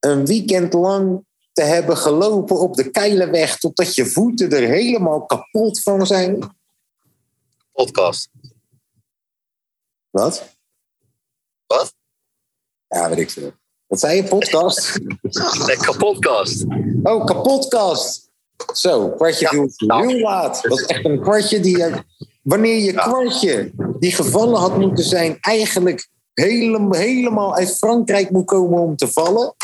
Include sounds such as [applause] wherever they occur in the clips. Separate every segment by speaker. Speaker 1: een weekend lang te hebben gelopen op de Keilenweg totdat je voeten er helemaal kapot van zijn.
Speaker 2: podcast.
Speaker 1: Wat?
Speaker 2: Wat?
Speaker 1: Ja, weet ik veel. Wat zei je? Podcast?
Speaker 2: Lekker podcast.
Speaker 1: Oh, kapotkast. Zo, kwartje viel heel laat. Dat was echt een kwartje die... je- Wanneer je kwartje, die gevallen had moeten zijn... eigenlijk helem- helemaal uit Frankrijk moet komen om te vallen.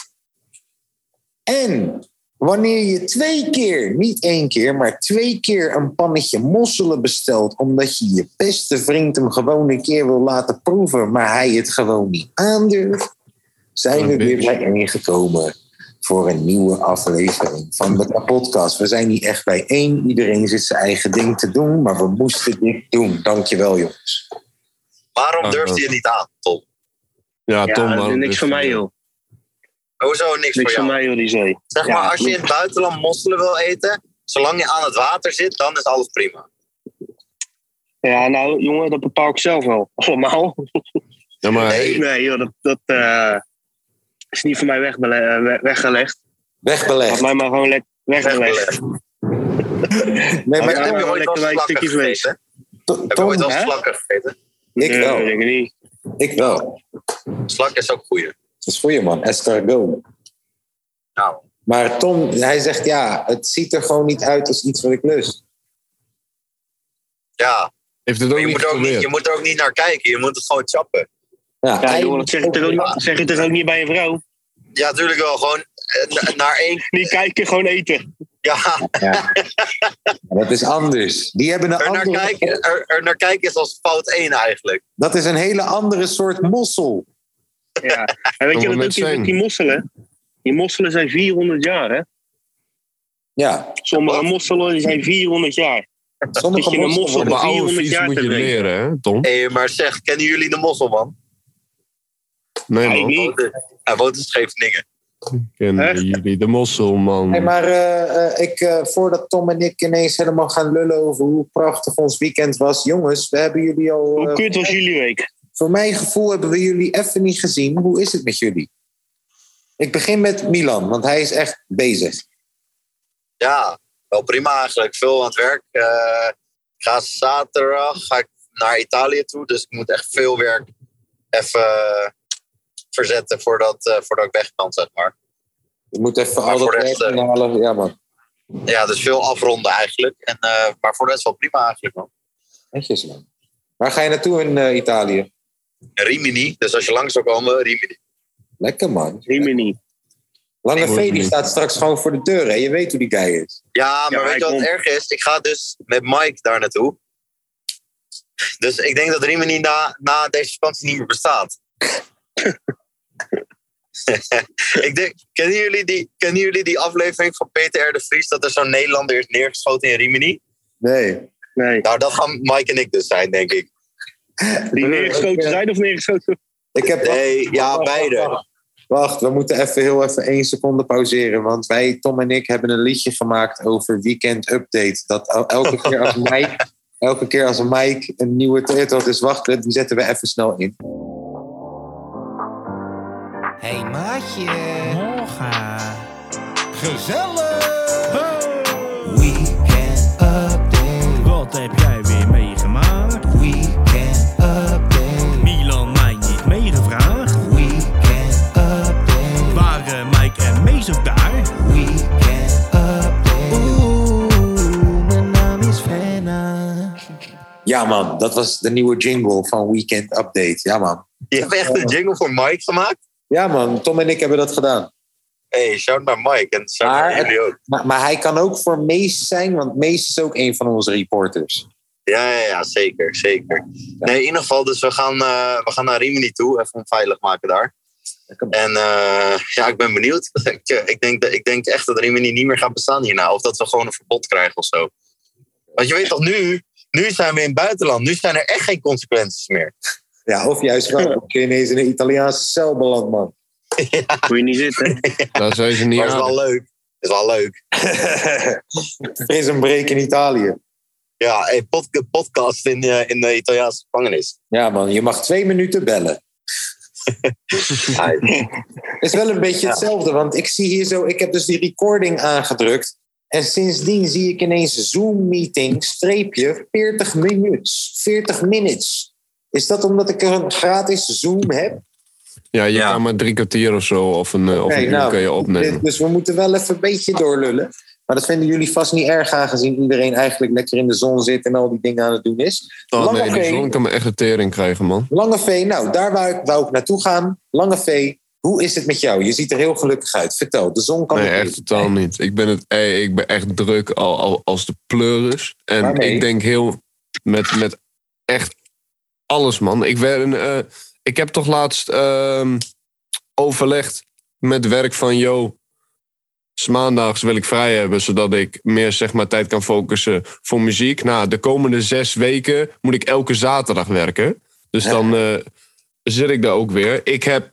Speaker 1: En wanneer je twee keer, niet één keer... maar twee keer een pannetje mosselen bestelt... omdat je je beste vriend hem gewoon een keer wil laten proeven... maar hij het gewoon niet aandurft... zijn we weer bijeengekomen voor een nieuwe aflevering van de podcast. We zijn niet echt bijeen. Iedereen zit zijn eigen ding te doen, maar we moesten dit doen. Dankjewel, jongens.
Speaker 3: Ah,
Speaker 2: Waarom durfde je niet aan, Tom?
Speaker 3: Ja,
Speaker 4: Ja,
Speaker 3: Tom. waarom
Speaker 4: niks
Speaker 3: durf
Speaker 4: voor
Speaker 3: je
Speaker 4: mij,
Speaker 3: niet?
Speaker 4: joh.
Speaker 2: Hoezo niks voor
Speaker 4: Niks voor
Speaker 2: jou?
Speaker 4: mij, joh, die zee.
Speaker 2: Zeg maar, als je in het buitenland mosselen wil eten, zolang je aan het water zit, dan is alles prima.
Speaker 4: Ja, nou, jongen, dat bepaal ik zelf wel. [laughs] Allemaal.
Speaker 3: Ja, maar
Speaker 2: Nee.
Speaker 4: Nee, joh, dat, dat eh, is niet voor mij wegbele- eh, we- weggelegd. Had
Speaker 1: Wegbelegd.
Speaker 4: mij maar gewoon lekker weggelegd.
Speaker 1: Nee,
Speaker 4: maar-
Speaker 1: maar
Speaker 2: heb je
Speaker 4: maar
Speaker 2: ooit
Speaker 4: lekker
Speaker 2: wel
Speaker 4: wij
Speaker 2: slakken
Speaker 4: stukjes vlees.
Speaker 2: gegeten?
Speaker 1: to-
Speaker 2: Heb je ooit
Speaker 1: Tom,
Speaker 2: wel
Speaker 4: hè?
Speaker 2: slakken gegeten?
Speaker 1: ik
Speaker 4: Nee,
Speaker 1: wel.
Speaker 4: Dus, eh, denk ik niet.
Speaker 1: Ik wel. Dat
Speaker 2: Slak is ook goeie.
Speaker 1: is voor je, man. Escargot.
Speaker 2: Nou,
Speaker 1: Maar Tom, hij zegt ja, het ziet er gewoon niet uit als iets wat ik lust.
Speaker 2: ja.
Speaker 3: heeft het ook
Speaker 2: Maar je
Speaker 3: niet
Speaker 2: moet, er ook niet,
Speaker 3: geprobeerd?
Speaker 2: je moet er ook niet naar kijken. Je moet het gewoon chappen.
Speaker 1: Ja,
Speaker 4: Ja,
Speaker 1: hij-
Speaker 4: joh, dat zeg je, toch ook, niet- zeg je toch ook niet bij een vrouw?
Speaker 2: Ja, natuurlijk wel. Gewoon eh, na- naar één...
Speaker 4: Niet kijken, gewoon eten.
Speaker 2: Ja,
Speaker 1: dat is anders. Die hebben een
Speaker 2: [laughs] er naar,
Speaker 1: andere...
Speaker 2: kijken, er, er naar kijken is als fout één eigenlijk.
Speaker 1: Dat is een hele andere soort mossel.
Speaker 4: Ja. En weet
Speaker 3: Kan wel
Speaker 4: je wat ook
Speaker 3: net
Speaker 4: is
Speaker 3: zijn.
Speaker 4: met die mosselen? Die mosselen zijn 400 jaar, hè?
Speaker 1: Ja,
Speaker 4: Sommige mosselen die zijn 400 jaar.
Speaker 1: sommige
Speaker 4: Dat je een
Speaker 1: mosselen...
Speaker 4: mossel-
Speaker 3: Op een oude
Speaker 4: 400
Speaker 3: fiets
Speaker 4: jaar
Speaker 3: moet
Speaker 4: te
Speaker 3: je
Speaker 4: drinken.
Speaker 3: leren, hè, Tom?
Speaker 2: Hé, maar zeg, kennen jullie de mosselman?
Speaker 3: Nee,
Speaker 4: Ik
Speaker 3: man.
Speaker 4: niet.
Speaker 2: Hij woont in Scheveningen.
Speaker 3: Kennen
Speaker 4: Echt?
Speaker 3: jullie de mosselman?
Speaker 1: Hey, maar eh, eh, ik, eh, voordat Tom en ik ineens helemaal gaan lullen over hoe prachtig ons weekend was. Jongens, we hebben jullie al.
Speaker 4: Hoe
Speaker 1: eh,
Speaker 4: kut was jullie week?
Speaker 1: voor mijn gevoel hebben we jullie even niet gezien. Hoe is het met jullie? Ik begin met Milan, want hij is echt bezig.
Speaker 2: Ja, wel prima eigenlijk. Veel aan het werk. Eh, ik ga zaterdag ga ik naar Italië toe. Dus ik moet echt veel werk even eh, verzetten voordat, eh, voordat ik weg kan, zeg maar.
Speaker 1: Je moet even
Speaker 2: Maar
Speaker 1: al dat
Speaker 2: voor de
Speaker 1: werk
Speaker 2: rest, eh,
Speaker 1: inhalen. Ja, man.
Speaker 2: Ja, dus veel afronden eigenlijk. En, eh, maar voor de rest wel prima eigenlijk, man.
Speaker 1: Netjes, man. Waar ga je naartoe in eh, Italië?
Speaker 2: Rimini, dus als je langs zou komen, Rimini.
Speaker 1: Lekker, man.
Speaker 4: Rimini.
Speaker 1: Lange
Speaker 3: Hoor
Speaker 1: V
Speaker 3: ik
Speaker 1: die
Speaker 3: niet.
Speaker 1: staat straks gewoon voor de deur. Hè? Je weet hoe die guy is.
Speaker 2: Ja, maar
Speaker 4: Ja,
Speaker 2: weet
Speaker 4: ik
Speaker 2: je wat
Speaker 4: kom.
Speaker 2: erg is? Ik ga dus met Mike daar naartoe. Dus ik denk dat Rimini na, na deze vakantie niet meer bestaat. [laughs] ik denk, kennen jullie, die, kennen jullie die aflevering van Peter R. de Vries... dat er zo'n Nederlander is neergeschoten in Rimini?
Speaker 1: Nee.
Speaker 4: Nee.
Speaker 2: Nou, dat gaan Mike en ik dus zijn, denk ik.
Speaker 4: Die neergeschoten zijn of neergeschoten?
Speaker 1: eh, Ik heb
Speaker 2: Nee, ja,
Speaker 1: wacht, wacht,
Speaker 4: Ah,
Speaker 2: beide.
Speaker 1: wacht. Wacht, we moeten even heel even één seconde pauzeren. Want wij, Tom en ik, hebben een liedje gemaakt over Weekend Update. Dat el- elke keer als Mike, elke keer als Mike een nieuwe tweet had, dus wacht, die zetten we even snel in.
Speaker 5: Hey maatje.
Speaker 6: Gezellig!
Speaker 5: Weekend update.
Speaker 6: Wat heb jij weer meegemaakt?
Speaker 5: Weekend update.
Speaker 6: Milan mij niet meegevraagd.
Speaker 5: Weekend update.
Speaker 6: Waren Mike en Mees ook daar?
Speaker 5: Weekend update. Oeh, mijn naam is Frenna.
Speaker 1: Ja, man, dat was de nieuwe jingle van Weekend Update. Ja, man.
Speaker 2: Je hebt echt een jingle voor Mike gemaakt?
Speaker 1: Ja, man, Tom en ik hebben dat gedaan.
Speaker 2: Hé, hey, shout naar Mike en shout
Speaker 1: Maar
Speaker 2: naar jullie ook.
Speaker 1: Maar, maar hij kan ook voor Mees zijn, want Mees is ook een van onze reporters.
Speaker 2: Ja, ja, ja, zeker, zeker. Nee, in ieder geval, dus we gaan, eh, we gaan naar Rimini toe, even om veilig maken daar.
Speaker 1: Lekker man.
Speaker 2: En eh, ja, ik ben benieuwd. [laughs] Ik, eh, ik, denk, dat- ik denk echt dat Rimini niet meer gaat bestaan hierna. Of dat we gewoon een verbod krijgen of zo. Want je weet toch nu, nu zijn we in het buitenland. Nu zijn er echt geen consequenties meer.
Speaker 1: Ja, of juist wel. Dan kun je ineens in een Italiaanse cel beland, man. [laughs]
Speaker 4: ah. Moet je niet [laughs] zitten.
Speaker 3: Daar zijn ze niet
Speaker 2: Maar het is
Speaker 3: aan.
Speaker 2: wel leuk. Het is wel leuk.
Speaker 1: Is een break in Italië.
Speaker 2: Ja, hey, pod- podcast in, eh, in de Italiaanse gevangenis.
Speaker 1: Ja, man, je mag twee minuten bellen.
Speaker 2: Ja,
Speaker 1: Het is wel een beetje
Speaker 2: Ja.
Speaker 1: hetzelfde, want ik zie hier zo, ik heb dus die recording aangedrukt. En sindsdien zie ik ineens Zoom-meeting, streepje, 40 minutes. 40 minutes. Is dat omdat ik een gratis Zoom heb?
Speaker 3: Ja, je
Speaker 2: Ja.
Speaker 3: kan maar drie kwartier of zo of een, eh, of
Speaker 1: Oké,
Speaker 3: een uur
Speaker 1: nou,
Speaker 3: kan je opnemen.
Speaker 1: Dus we moeten wel even een beetje doorlullen. Maar dat vinden jullie vast niet erg, aangezien iedereen eigenlijk lekker in de zon zit en al die dingen aan het doen is.
Speaker 3: Oh,
Speaker 1: Lange
Speaker 3: nee, de
Speaker 1: V.
Speaker 3: zon kan me echt een tering krijgen, man.
Speaker 1: Lange V, nou, daar wou ik, wou ik naartoe gaan. Lange V, hoe is het met jou? Je ziet er heel gelukkig uit. Vertel, de zon kan
Speaker 3: Nee,
Speaker 1: het
Speaker 3: echt
Speaker 1: niet.
Speaker 3: totaal niet. Ik ben, het, ey, ik ben echt druk al, al, als de pleuris. En
Speaker 1: Waarmee?
Speaker 3: ik denk heel met, met echt alles, man. Ik, werd een, eh, ik heb toch laatst ehm, overlegd met werk van... Yo, 's maandags wil ik vrij hebben, zodat ik meer zeg maar, tijd kan focussen voor muziek. Nou, de komende zes weken moet ik elke zaterdag werken. Dus dan eh, zit ik daar ook weer. Ik heb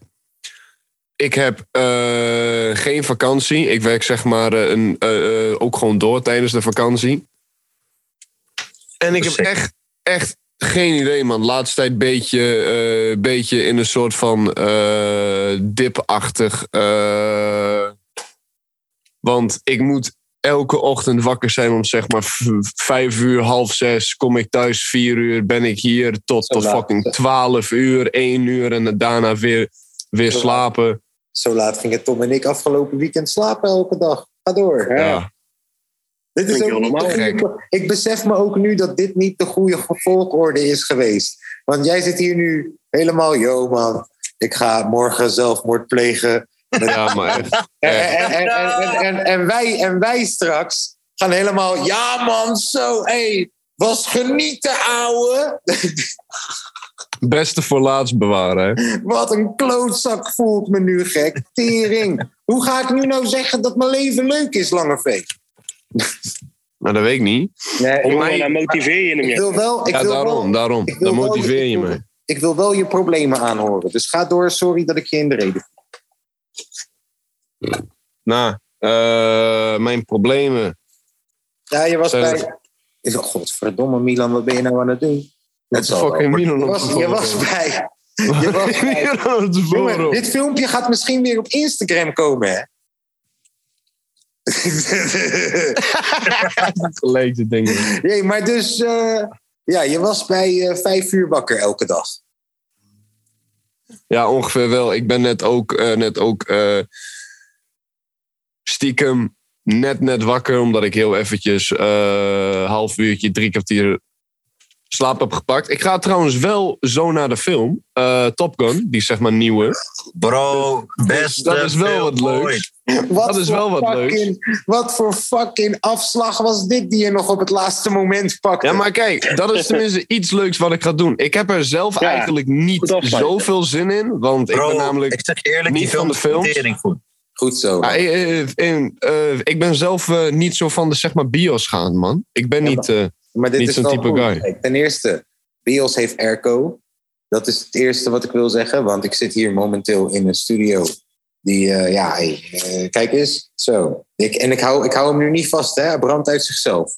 Speaker 3: ik heb eh, geen vakantie. Ik werk zeg maar eh, een, eh, eh, ook gewoon door tijdens de vakantie. En ik heb
Speaker 2: Sick.
Speaker 3: echt, echt geen idee, man. Laatste tijd beetje, eh, beetje in een soort van eh, dipachtig. eh, want ik moet elke ochtend wakker zijn om zeg maar v- vijf uur, half zes. Kom ik thuis vier uur, ben ik hier tot,
Speaker 1: Zo
Speaker 3: tot
Speaker 1: laat.
Speaker 3: fucking twaalf uur, één uur. En daarna weer, weer
Speaker 1: Zo laat.
Speaker 3: slapen.
Speaker 1: Zo laat gingen Tom en ik afgelopen weekend slapen elke dag. Ga door.
Speaker 4: Ja.
Speaker 3: Ja.
Speaker 1: Dit is
Speaker 4: Vind ik
Speaker 1: ook niet de
Speaker 4: helemaal
Speaker 1: goede- ik besef me ook nu dat dit niet de goede volgorde is geweest. Want jij zit hier nu helemaal, yo man, ik ga morgen zelfmoord plegen.
Speaker 3: Ja, maar echt. echt.
Speaker 1: En, en, en, en, en, en wij, en wij straks gaan helemaal, ja man, zo, hé, was genieten, ouwe.
Speaker 3: Beste voor laatst bewaren. hè.
Speaker 1: Wat een klootzak voel ik me nu, gek. Tering. Hoe ga ik nu nou zeggen dat mijn leven leuk is, Langeveen?
Speaker 3: Nou, dat weet ik niet.
Speaker 1: Nee,
Speaker 4: Jongen, dan motiveer je hem.
Speaker 1: Ik
Speaker 4: ja.
Speaker 1: wil wel, ik
Speaker 3: Ja,
Speaker 1: wil wel,
Speaker 3: daarom, daarom.
Speaker 1: ik wil
Speaker 3: Daar
Speaker 1: wel-
Speaker 3: motiveer je
Speaker 1: ik wil-
Speaker 3: me.
Speaker 1: ik wil wel je problemen aanhoren. Dus ga door. Sorry dat ik je in de reden.
Speaker 3: Nou, eh, mijn problemen.
Speaker 1: viel. Ja, je was
Speaker 3: Zijn we-
Speaker 1: bij. Is- Godverdomme, Milan, wat ben je nou aan het doen?
Speaker 3: Wat
Speaker 1: Dat
Speaker 3: de
Speaker 1: zal
Speaker 3: fuck
Speaker 1: wel.
Speaker 3: heeft Milan
Speaker 1: Je
Speaker 3: op
Speaker 1: was,
Speaker 3: te
Speaker 1: je
Speaker 3: voren?
Speaker 1: was bij.
Speaker 3: Wat [laughs]
Speaker 1: je was
Speaker 3: heeft
Speaker 1: bij-
Speaker 3: Milan op te
Speaker 1: Jongen,
Speaker 3: voren?
Speaker 1: dit filmpje gaat misschien weer op Instagram komen,
Speaker 3: [laughs]
Speaker 1: hè?
Speaker 3: Gelijk, dit ding.
Speaker 1: nee, maar dus. eh, ja, je was bij eh, vijf uur wakker elke dag.
Speaker 3: Ja, ongeveer wel. Ik ben net ook, eh, net ook eh, stiekem net net wakker, omdat ik heel eventjes eh half uurtje, drie kwartier slaap heb gepakt. Ik ga trouwens wel zo naar de film, eh, Top Gun, die is zeg maar nieuwe. Dus
Speaker 2: Bro, beste
Speaker 3: Dat is wel wat
Speaker 2: film
Speaker 3: leuks.
Speaker 2: ooit.
Speaker 1: Wat
Speaker 3: Dat is
Speaker 1: voor
Speaker 3: wel wat
Speaker 1: fucking, Wat voor fucking afslag was dit die je nog op het laatste moment pakte?
Speaker 3: Ja, maar kijk, dat is tenminste iets leuks wat ik ga doen. Ik heb er zelf
Speaker 4: Ja,
Speaker 3: eigenlijk
Speaker 4: goed
Speaker 3: niet
Speaker 4: afsluiten.
Speaker 3: zoveel zin in, want ik
Speaker 2: Bro,
Speaker 3: ben namelijk...
Speaker 2: ik zeg eerlijk,
Speaker 3: niet
Speaker 2: die film
Speaker 3: van de
Speaker 2: is
Speaker 3: films.
Speaker 2: tering goed.
Speaker 1: Goed zo.
Speaker 3: Ja, eh, eh, in, eh, ik ben zelf eh, niet zo van de zeg maar bios gaan, man. Ik ben
Speaker 1: Ja,
Speaker 3: niet... eh,
Speaker 1: Maar dit
Speaker 3: Niet
Speaker 1: is
Speaker 3: zo'n
Speaker 1: wel
Speaker 3: type
Speaker 1: goed.
Speaker 3: guy.
Speaker 1: Kijk, ten eerste, Bios heeft airco. Dat is het eerste wat ik wil zeggen, want ik zit hier momenteel in een studio. Die, eh, ja, hey, eh, kijk eens. Zo. Ik, en ik hou, ik hou hem nu niet vast, hè? Hij brandt uit zichzelf.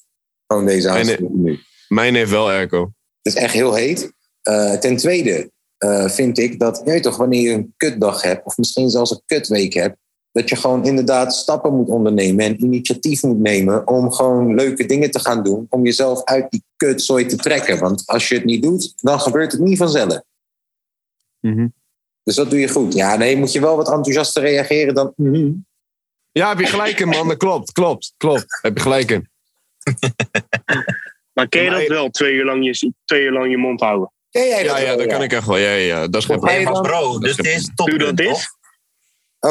Speaker 1: Gewoon deze
Speaker 3: nee.
Speaker 1: aanstelling nu.
Speaker 3: mijn heeft wel airco.
Speaker 1: Het is echt heel heet. Eh, ten tweede eh, vind ik dat, je weet toch, wanneer je een kutdag hebt, of misschien zelfs een kutweek hebt, dat je gewoon inderdaad stappen moet ondernemen en initiatief moet nemen om gewoon leuke dingen te gaan doen, om jezelf uit die kutzooi te trekken. Want als je het niet doet, dan gebeurt het niet vanzelf.
Speaker 3: Mhm.
Speaker 1: Dus dat doe je goed. Ja, nee, moet je wel wat enthousiaster reageren dan. mhm.
Speaker 3: Ja, heb je gelijk in, man. Dat klopt, klopt, klopt. Heb je gelijk in.
Speaker 4: Maar ken je
Speaker 3: Maar-
Speaker 4: dat wel, twee uur lang je, twee uur lang je mond houden?
Speaker 1: Ken jij dat
Speaker 3: Ja, ja,
Speaker 1: wel,
Speaker 3: dat
Speaker 1: ja?
Speaker 3: kan ik echt wel. Ja, ja, ja, dat is geen
Speaker 1: Volgens
Speaker 3: probleem.
Speaker 1: mij-
Speaker 2: Nee, maar
Speaker 1: dan-
Speaker 2: bro, dus
Speaker 3: Dat
Speaker 2: dit
Speaker 3: is-
Speaker 2: is Top
Speaker 4: Doe
Speaker 2: Gun,
Speaker 4: dat
Speaker 2: toch?
Speaker 4: dit?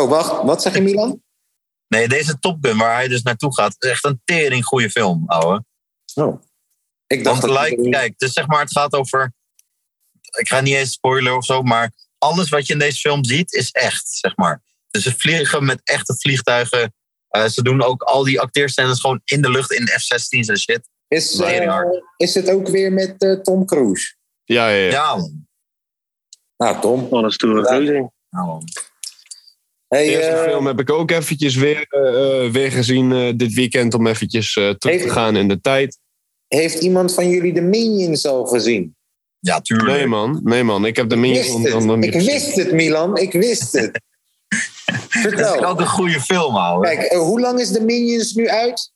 Speaker 1: Oh, wacht, wat zeg je, Milan?
Speaker 2: Nee, deze Top Gun waar hij dus naartoe gaat, is echt een tering goede film, ouwe.
Speaker 1: Oh.
Speaker 2: Want
Speaker 1: Ik dacht dat
Speaker 2: like, kijk, dus zeg maar, het gaat over. Ik ga niet eens spoiler of zo, maar alles wat je in deze film ziet is echt, zeg maar. Dus ze vliegen met echte vliegtuigen. Eh, ze doen ook al die acteerscènes gewoon in de lucht in F-16's en shit.
Speaker 1: Is, eh,
Speaker 2: Heel hard.
Speaker 1: is het ook weer met eh, Tom Cruise?
Speaker 3: Ja, ja,
Speaker 2: Ja,
Speaker 3: ja.
Speaker 2: man.
Speaker 1: Nou, Tom.
Speaker 4: Alles toe.
Speaker 2: Ja, man.
Speaker 3: De
Speaker 1: Hey,
Speaker 3: eerste
Speaker 1: eh,
Speaker 3: film heb ik ook eventjes weer, eh, eh, weer gezien eh, dit weekend om eventjes eh, terug te
Speaker 1: Heeft-
Speaker 3: gaan in de tijd.
Speaker 1: heeft iemand van jullie de Minions al gezien?
Speaker 2: ja tuurlijk.
Speaker 3: Nee man, nee man. Ik heb de
Speaker 1: Ik
Speaker 3: minions
Speaker 1: wist
Speaker 3: nog- nog nog
Speaker 1: het.
Speaker 3: niet
Speaker 1: Ik
Speaker 3: gezien.
Speaker 1: wist het, Milan. Ik wist
Speaker 2: [laughs]
Speaker 1: het.
Speaker 2: Dat is
Speaker 1: Vertel.
Speaker 2: ook een goede film, ouwe.
Speaker 1: Kijk, eh, hoe lang is de Minions nu uit?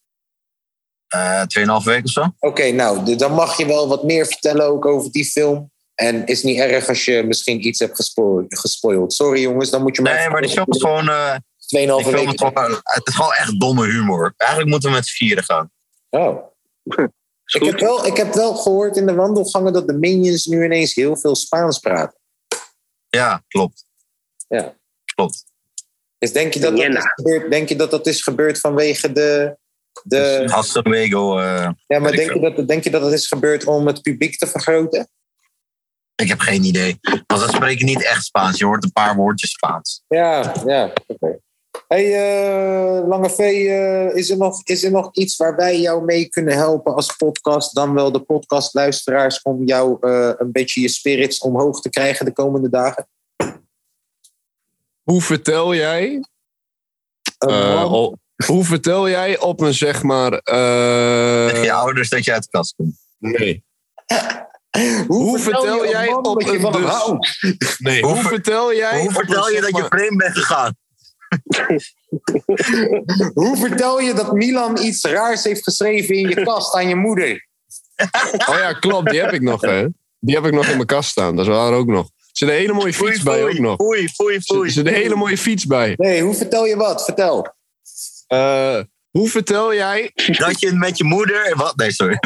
Speaker 2: Eh, Tweeënhalf weken of zo.
Speaker 1: Oké, nou, d- dan mag je wel wat meer vertellen ook over die film. En is niet erg als je misschien iets hebt gespo- gespoild. Sorry jongens, dan moet je
Speaker 2: Nee, maar die film is gewoon... eh, die
Speaker 1: 2,5
Speaker 2: film is
Speaker 1: weken.
Speaker 2: gewoon- eh, het is gewoon echt domme humor. Eigenlijk moeten we met z'n vieren gaan.
Speaker 1: Oh. Ik heb, wel, ik heb wel gehoord in de wandelgangen dat de Minions nu ineens heel veel Spaans praten.
Speaker 2: Ja, klopt.
Speaker 1: Ja.
Speaker 2: Klopt.
Speaker 1: Dus denk je dat dat,
Speaker 2: nou.
Speaker 4: Jena.
Speaker 1: is gebeurd, denk je dat, dat is gebeurd vanwege de.
Speaker 2: Dus,
Speaker 1: de
Speaker 2: Hasselwego, eh
Speaker 1: ja, maar
Speaker 2: weet ik
Speaker 1: denk je, dat, denk je dat het is gebeurd om het publiek te vergroten?
Speaker 2: ik heb geen idee. Want ze spreken niet echt Spaans. Je hoort een paar woordjes Spaans.
Speaker 1: Ja, ja. oké. Hey, eh, Lange V, eh, is, er nog, is er nog iets waar wij jou mee kunnen helpen als podcast? Dan wel de podcastluisteraars om jou eh, een beetje je spirits omhoog te krijgen de komende dagen?
Speaker 3: Hoe vertel jij Eh,
Speaker 1: Een Oh, man-
Speaker 3: al- hoe vertel jij op een zeg maar. eh,
Speaker 2: Tegen je ouders dat je uit de kast komt.
Speaker 3: nee.
Speaker 1: hoe,
Speaker 3: vertel jij
Speaker 1: man
Speaker 3: op
Speaker 1: dat je
Speaker 3: een dus-
Speaker 1: van hem
Speaker 3: bus?
Speaker 1: houdt?
Speaker 3: nee.
Speaker 2: Hoe
Speaker 3: Hoe,
Speaker 2: ver-
Speaker 3: vertel jij.
Speaker 2: Hoe
Speaker 3: op
Speaker 2: vertel
Speaker 3: een,
Speaker 2: je
Speaker 3: zeg
Speaker 2: dat je
Speaker 3: maar-
Speaker 2: vreemd bent gegaan?
Speaker 1: Hoe vertel je dat Milan iets raars heeft geschreven in je kast aan je moeder?
Speaker 2: [laughs]
Speaker 3: Oh ja, klopt. Die heb ik nog, hè? Die heb ik nog in mijn kast staan. Dat is waar ook nog. Er zit een hele mooie fiets bij ook nog.
Speaker 2: Foei, foei,
Speaker 3: Er [laughs]
Speaker 2: foei.
Speaker 3: zit een hele mooie fiets bij.
Speaker 1: Nee, hoe vertel je wat? Vertel.
Speaker 3: Eh, hoe vertel jij.
Speaker 2: Dat je met je moeder... Wat? Nee, sorry.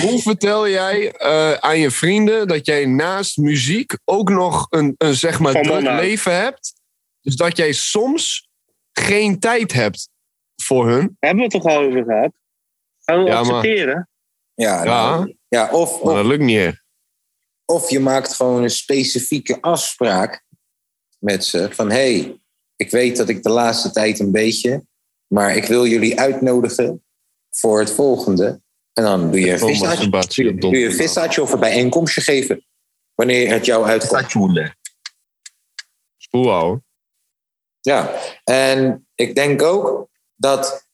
Speaker 3: Hoe vertel jij eh, aan je vrienden dat jij naast muziek ook nog een, een zeg maar
Speaker 4: Van
Speaker 3: druk
Speaker 4: mannen.
Speaker 3: leven hebt? Dus dat jij soms geen tijd hebt voor hun.
Speaker 4: Hebben we het toch al over gehad? Gaan we
Speaker 3: Ja, maar-
Speaker 4: accepteren?
Speaker 1: Ja,
Speaker 3: Ja,
Speaker 1: nou, ja of,
Speaker 3: maar
Speaker 1: of,
Speaker 3: dat lukt niet echt.
Speaker 1: of je maakt gewoon een specifieke afspraak met ze. Van hé, hey, ik weet dat ik de laatste tijd een beetje, maar ik wil jullie uitnodigen voor het volgende. En dan doe je een
Speaker 3: Oh,
Speaker 1: vissaatje,
Speaker 3: masturbatie op
Speaker 1: doe je een
Speaker 3: donderdag.
Speaker 1: vissaatje of een bijeenkomstje geven. Wanneer het jou uitkomt.
Speaker 2: Statjoelen.
Speaker 3: Spoel houden.
Speaker 1: Ja, en ik denk ook dat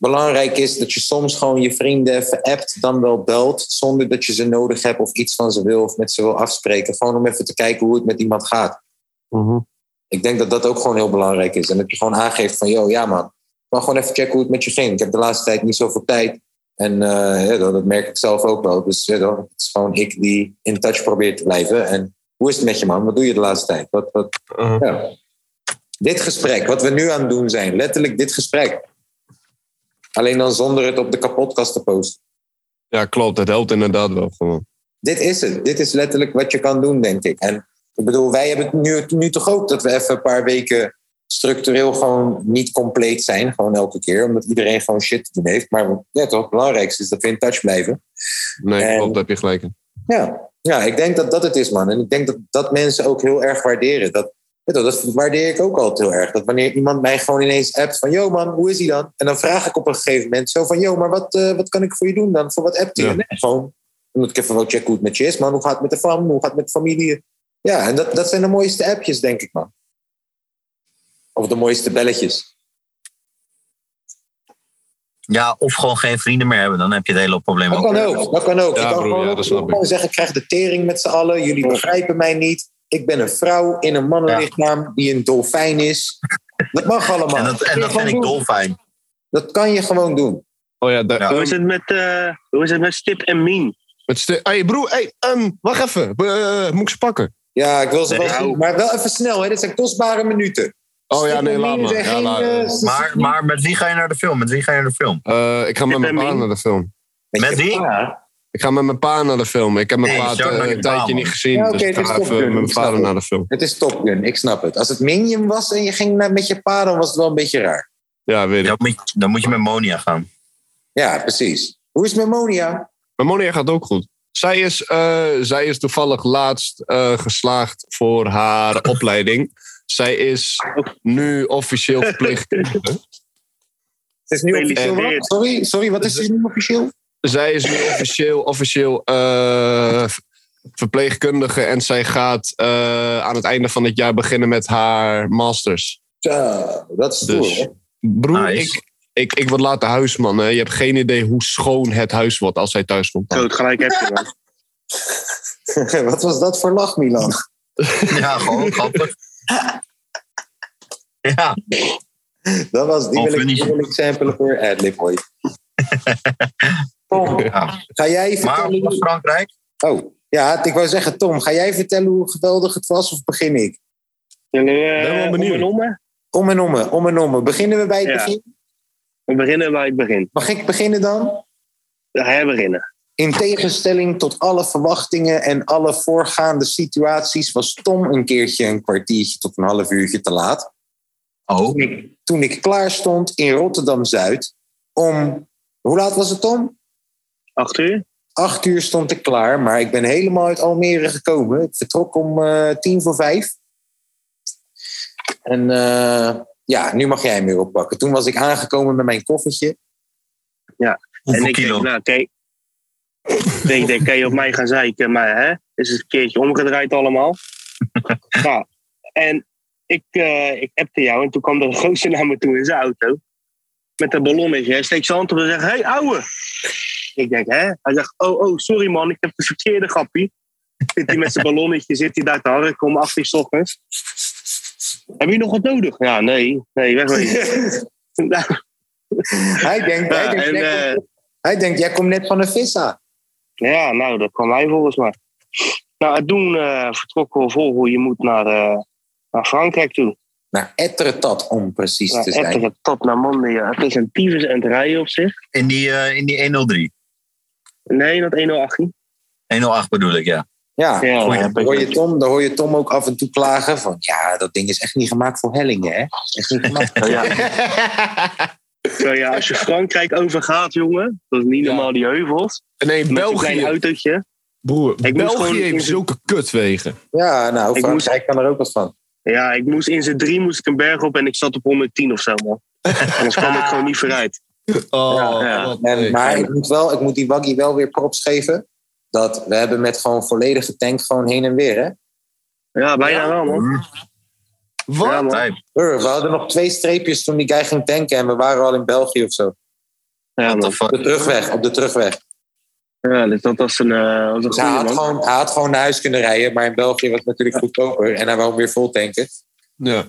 Speaker 1: belangrijk is dat je soms gewoon je vrienden even appt, dan wel belt, zonder dat je ze nodig hebt of iets van ze wil of met ze wil afspreken. Gewoon om even te kijken hoe het met iemand gaat. Ik denk dat dat ook gewoon heel belangrijk is. En dat je gewoon aangeeft van, yo, ja man, maar gewoon even checken hoe het met je ging. Ik heb de laatste tijd niet zoveel tijd. En eh, ja, dat dat merk ik zelf ook wel. Dus ja, dan- het is gewoon ik die in touch probeert te blijven. En hoe is het met je man? Wat doe je de laatste tijd? Wat, wat,
Speaker 3: Uh-huh.
Speaker 1: ja. Dit gesprek, wat we nu aan het doen zijn. Letterlijk dit gesprek. Alleen dan zonder het op de kapotkast te posten.
Speaker 3: Ja, klopt. Dat helpt inderdaad wel gewoon.
Speaker 1: Dit is het. Dit is letterlijk wat je kan doen, denk ik. En ik bedoel, wij hebben het nu, nu toch ook dat we even een paar weken structureel gewoon niet compleet zijn. Gewoon elke keer, omdat iedereen gewoon shit te doen heeft. Maar ja, toch, het belangrijkste is dat we in touch blijven.
Speaker 3: Nee,
Speaker 1: En-
Speaker 3: klopt. Daar heb je gelijk in.
Speaker 1: Ja, ja ik denk dat dat het is, man. En ik denk dat dat mensen ook heel erg waarderen. Dat, ja, toch, dat waardeer ik ook altijd heel erg. Dat wanneer iemand mij gewoon ineens appt van, yo man, hoe is hij dan? En dan vraag ik op een gegeven moment zo van, yo, maar wat, eh, wat kan ik voor je doen dan? Voor wat appt je?
Speaker 3: Ja.
Speaker 1: Nee, gewoon, dan moet ik even wel checken hoe het met je is, man. Hoe gaat het met de fam? Hoe gaat het met de familie? Ja, en dat, dat zijn de mooiste appjes, denk ik, man. Of de mooiste belletjes.
Speaker 2: Ja, of gewoon geen vrienden meer hebben. Dan heb je het hele probleem
Speaker 1: Dat
Speaker 2: ook.
Speaker 1: kan ook, dat kan ook.
Speaker 3: Ja,
Speaker 1: je kan
Speaker 3: broer,
Speaker 1: gewoon,
Speaker 3: ja, dat snap ik.
Speaker 1: gewoon zeggen, ik krijg de tering met z'n allen. Jullie begrijpen mij niet. Ik ben een vrouw in een mannenlichaam die een dolfijn is. Dat mag allemaal.
Speaker 2: En dat, en
Speaker 1: kun je
Speaker 2: dat
Speaker 1: gewoon
Speaker 2: vind ik
Speaker 1: doen.
Speaker 2: dolfijn.
Speaker 1: Dat kan je gewoon doen.
Speaker 3: Oh ja, daar,
Speaker 2: Ja.
Speaker 3: ehm,
Speaker 4: Hoe is het met, eh, hoe is het met Stip en Mien?
Speaker 3: met ste- hey, broer, hey, ehm, wacht even. Eh, moet ik ze pakken?
Speaker 1: Ja, ik wil ze wel
Speaker 2: Nee,
Speaker 1: zien, maar wel even snel. Hè. Dit zijn kostbare minuten.
Speaker 3: Oh ja, nee, laat
Speaker 1: Stippelmien
Speaker 3: maar.
Speaker 1: zijn
Speaker 3: Ja,
Speaker 1: geen,
Speaker 3: laat
Speaker 1: eh,
Speaker 3: maar.
Speaker 1: ze-
Speaker 2: Maar, maar met wie ga je naar de film? Met wie ga je naar de film?
Speaker 3: Eh, ik ga met
Speaker 4: Ik
Speaker 3: mijn
Speaker 4: ben
Speaker 3: pa
Speaker 4: Mien.
Speaker 3: naar de film.
Speaker 2: Met wie?
Speaker 1: Ja,
Speaker 3: Ik ga met mijn pa naar de film. Ik heb mijn
Speaker 2: Nee,
Speaker 3: pa
Speaker 2: je zou
Speaker 3: eh,
Speaker 2: naar je
Speaker 3: een
Speaker 2: pa,
Speaker 3: tijdje
Speaker 2: man.
Speaker 3: niet gezien.
Speaker 1: Ja, oké,
Speaker 3: dus ik
Speaker 1: dit is
Speaker 3: ga
Speaker 1: Top
Speaker 3: even
Speaker 1: Gun,
Speaker 3: met mijn
Speaker 1: ik snap
Speaker 3: vader
Speaker 1: het.
Speaker 3: naar de film.
Speaker 1: het is Top Gun, ik snap het. Als het Minion was en je ging naar- met je pa, dan was het wel een beetje raar.
Speaker 3: Ja, weet ik.
Speaker 2: Dan moet, je, dan moet je met Monia gaan.
Speaker 1: Ja, precies. Hoe is het met Monia?
Speaker 3: Mijn Monia gaat ook goed. Zij is, eh, zij is toevallig laatst eh, geslaagd voor haar opleiding. Zij is
Speaker 1: Oh.
Speaker 3: nu officieel verplicht.
Speaker 1: [laughs] Het is nu officieel wat?
Speaker 4: Gefeliciteerd.
Speaker 1: Sorry, sorry, wat is het nu officieel?
Speaker 3: zij is nu officieel, officieel eh, verpleegkundige. En zij gaat eh, aan het einde van het jaar beginnen met haar masters.
Speaker 1: Zo, dat is
Speaker 3: Dus-
Speaker 1: stoer.
Speaker 3: Broer,
Speaker 2: Nice.
Speaker 3: ik, ik, ik word later huisman. Hè. Je hebt geen idee hoe schoon het huis wordt als zij thuis
Speaker 4: [laughs]
Speaker 3: komt.
Speaker 4: Zo, het gelijk heb je man.
Speaker 1: hè? [laughs] wat was dat voor lach, Milan?
Speaker 2: Ja, gewoon grappig. Ja,
Speaker 1: Dat was, die
Speaker 2: Oh,
Speaker 1: wil ik,
Speaker 2: funny.
Speaker 1: die wil ik samplen voor Adlib ooit. Tom,
Speaker 2: Ja.
Speaker 1: ga jij
Speaker 2: maar
Speaker 1: vertellen...
Speaker 2: vanaf
Speaker 1: hoe-
Speaker 2: Frankrijk?
Speaker 1: Oh, ja, ik wou zeggen, Tom, ga jij vertellen hoe geweldig het was of begin ik?
Speaker 4: Zullen we
Speaker 3: ben wel
Speaker 4: eh, om
Speaker 3: benieuwd.
Speaker 4: en om? hè?
Speaker 1: Om en omme, om en omme. Beginnen we bij het
Speaker 4: Ja.
Speaker 1: begin?
Speaker 4: We beginnen bij het begin.
Speaker 1: Mag ik beginnen dan?
Speaker 4: Ja, Hij beginnen.
Speaker 1: In tegenstelling tot alle verwachtingen en alle voorgaande situaties was Tom een keertje een kwartiertje tot een half uurtje te laat.
Speaker 2: Oh,
Speaker 1: Toen ik klaar stond in Rotterdam Zuid om. Hoe laat was het, Tom?
Speaker 4: Acht uur?
Speaker 1: Acht uur stond ik klaar, maar ik ben helemaal uit Almere gekomen. Ik vertrok om eh, tien voor vijf. En eh, ja, nu mag jij hem weer oppakken. Toen was ik aangekomen met mijn koffertje.
Speaker 4: en
Speaker 2: hoeveel
Speaker 4: ik
Speaker 2: kilo?
Speaker 4: denk, nou, kijk. ik denk, kan je op mij gaan zeiken, maar hè, is het een keertje omgedraaid [laughs] allemaal. nou, en ik, eh ik appte jou en toen kwam er een gozer naar me toe in zijn auto. Met een ballonnetje. Hij steekt zijn hand op en zegt, hé, hey, ouwe. Ik denk, hè? Hij zegt, oh, oh, sorry man, ik heb de verkeerde grappie. Zit hij met zijn ballonnetje, zit hij daar te harken om 8 uur 's ochtends. Heb je nog wat nodig? Ja, nee, nee, [laughs] wegwezen. Nou,
Speaker 1: Hij denkt, hij
Speaker 4: Ja,
Speaker 1: denkt,
Speaker 4: en,
Speaker 1: jij,
Speaker 4: eh,
Speaker 1: komt, hij denkt jij komt net van een vissa.
Speaker 4: Ja, nou, dat kan hij volgens mij. Nou, en toen eh, vertrokken we vol hoe je moet naar, eh, naar Frankrijk toe.
Speaker 1: Naar Nou, Etretat, om precies
Speaker 4: Naar
Speaker 1: te zijn.
Speaker 4: Etteren tot naar Mondia. Het is een tyfus en het rijden op zich.
Speaker 2: In die, eh, in die 103.
Speaker 4: Nee, dat 108.
Speaker 2: 108 bedoel ik, ja.
Speaker 1: Ja,
Speaker 4: Ja,
Speaker 2: Goeie.
Speaker 1: daar hoor, je Tom, daar hoor je Tom ook af en toe klagen van... ja, dat ding is echt niet gemaakt voor hellingen, hè? Echt niet gemaakt voor
Speaker 4: Nou ja,
Speaker 3: [laughs]
Speaker 4: als je Frankrijk overgaat, jongen, dat is niet
Speaker 3: Ja.
Speaker 4: normaal die heuvels.
Speaker 3: Nee,
Speaker 4: Met een klein
Speaker 3: België.
Speaker 4: autootje.
Speaker 3: Broer,
Speaker 4: moest gewoon-
Speaker 3: België heeft zulke kutwegen.
Speaker 1: Ja, nou,
Speaker 4: Ik moest-
Speaker 1: Frankrijk kan er ook wat van.
Speaker 4: Ja, ik moest in z'n drie moest ik een berg op en ik zat op 110 of zo, man. Anders kwam ik gewoon niet vooruit.
Speaker 3: Oh,
Speaker 4: ja.
Speaker 3: wat
Speaker 1: En,
Speaker 3: nee.
Speaker 1: maar ik moet, wel, ik moet die waggie wel weer props geven... dat we hebben met gewoon volledige tank gewoon heen en weer, hè?
Speaker 4: Ja, bijna wel, man.
Speaker 3: Hm. Wat?
Speaker 4: Ja, man.
Speaker 2: Type.
Speaker 1: Brr, we hadden nog twee streepjes toen die guy ging tanken... en we waren al in België of zo. Op
Speaker 4: Ja, man.
Speaker 2: Fuck.
Speaker 1: de terugweg, op de terugweg.
Speaker 4: Ja, dus dat was een, eh, was een
Speaker 1: Dus hij,
Speaker 4: goede
Speaker 1: had
Speaker 4: man.
Speaker 1: gewoon, hij had gewoon naar huis kunnen rijden... maar in België was het natuurlijk goedkoper... en hij wou weer vol tanken.
Speaker 3: Ja.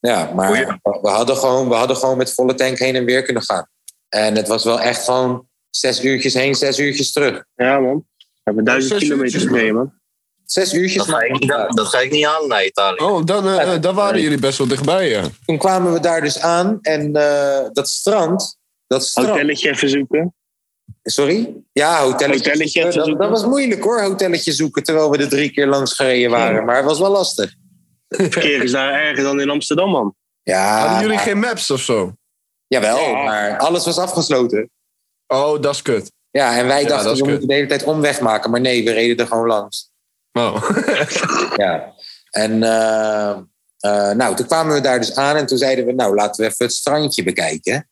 Speaker 1: Ja, maar
Speaker 2: Goeie.
Speaker 1: we- we, hadden gewoon, we hadden gewoon met volle tank heen en weer kunnen gaan. En het was wel echt gewoon zes uurtjes heen, zes uurtjes terug.
Speaker 4: Ja, man. We hebben duizend
Speaker 3: Zes
Speaker 4: kilometer
Speaker 3: uurtjes,
Speaker 4: gereden, man.
Speaker 1: Zes uurtjes.
Speaker 2: Dat ga, ik niet, dat ga ik niet halen naar Italië.
Speaker 3: Oh, dan, eh, eh, dan waren jullie best wel dichtbij, ja.
Speaker 1: Toen kwamen we daar dus aan en eh, dat strand. Dat strand.
Speaker 4: Hotelletje even zoeken.
Speaker 1: Sorry? Ja, hotelletje. Eh,
Speaker 4: Hotelletje even
Speaker 1: dat,
Speaker 4: zoeken.
Speaker 1: dat was moeilijk hoor, hotelletje zoeken terwijl we er drie keer langs gereden waren. Maar het was wel lastig.
Speaker 4: Verkeer is daar erger dan in Amsterdam, man.
Speaker 1: Ah, Ja,
Speaker 3: Hadden jullie
Speaker 1: maar-
Speaker 3: geen maps of zo?
Speaker 1: jawel,
Speaker 4: Ja.
Speaker 1: maar alles was afgesloten.
Speaker 3: Oh, dat is kut.
Speaker 1: Ja, en wij
Speaker 3: Ja,
Speaker 1: dachten
Speaker 3: dat is
Speaker 1: we
Speaker 3: kut.
Speaker 1: moeten de hele tijd omweg maken. Maar nee, we reden er gewoon langs.
Speaker 3: Oh. [laughs]
Speaker 1: Ja. En eh, eh, nou, toen kwamen we daar dus aan en toen zeiden we, nou, laten we even het strandje bekijken.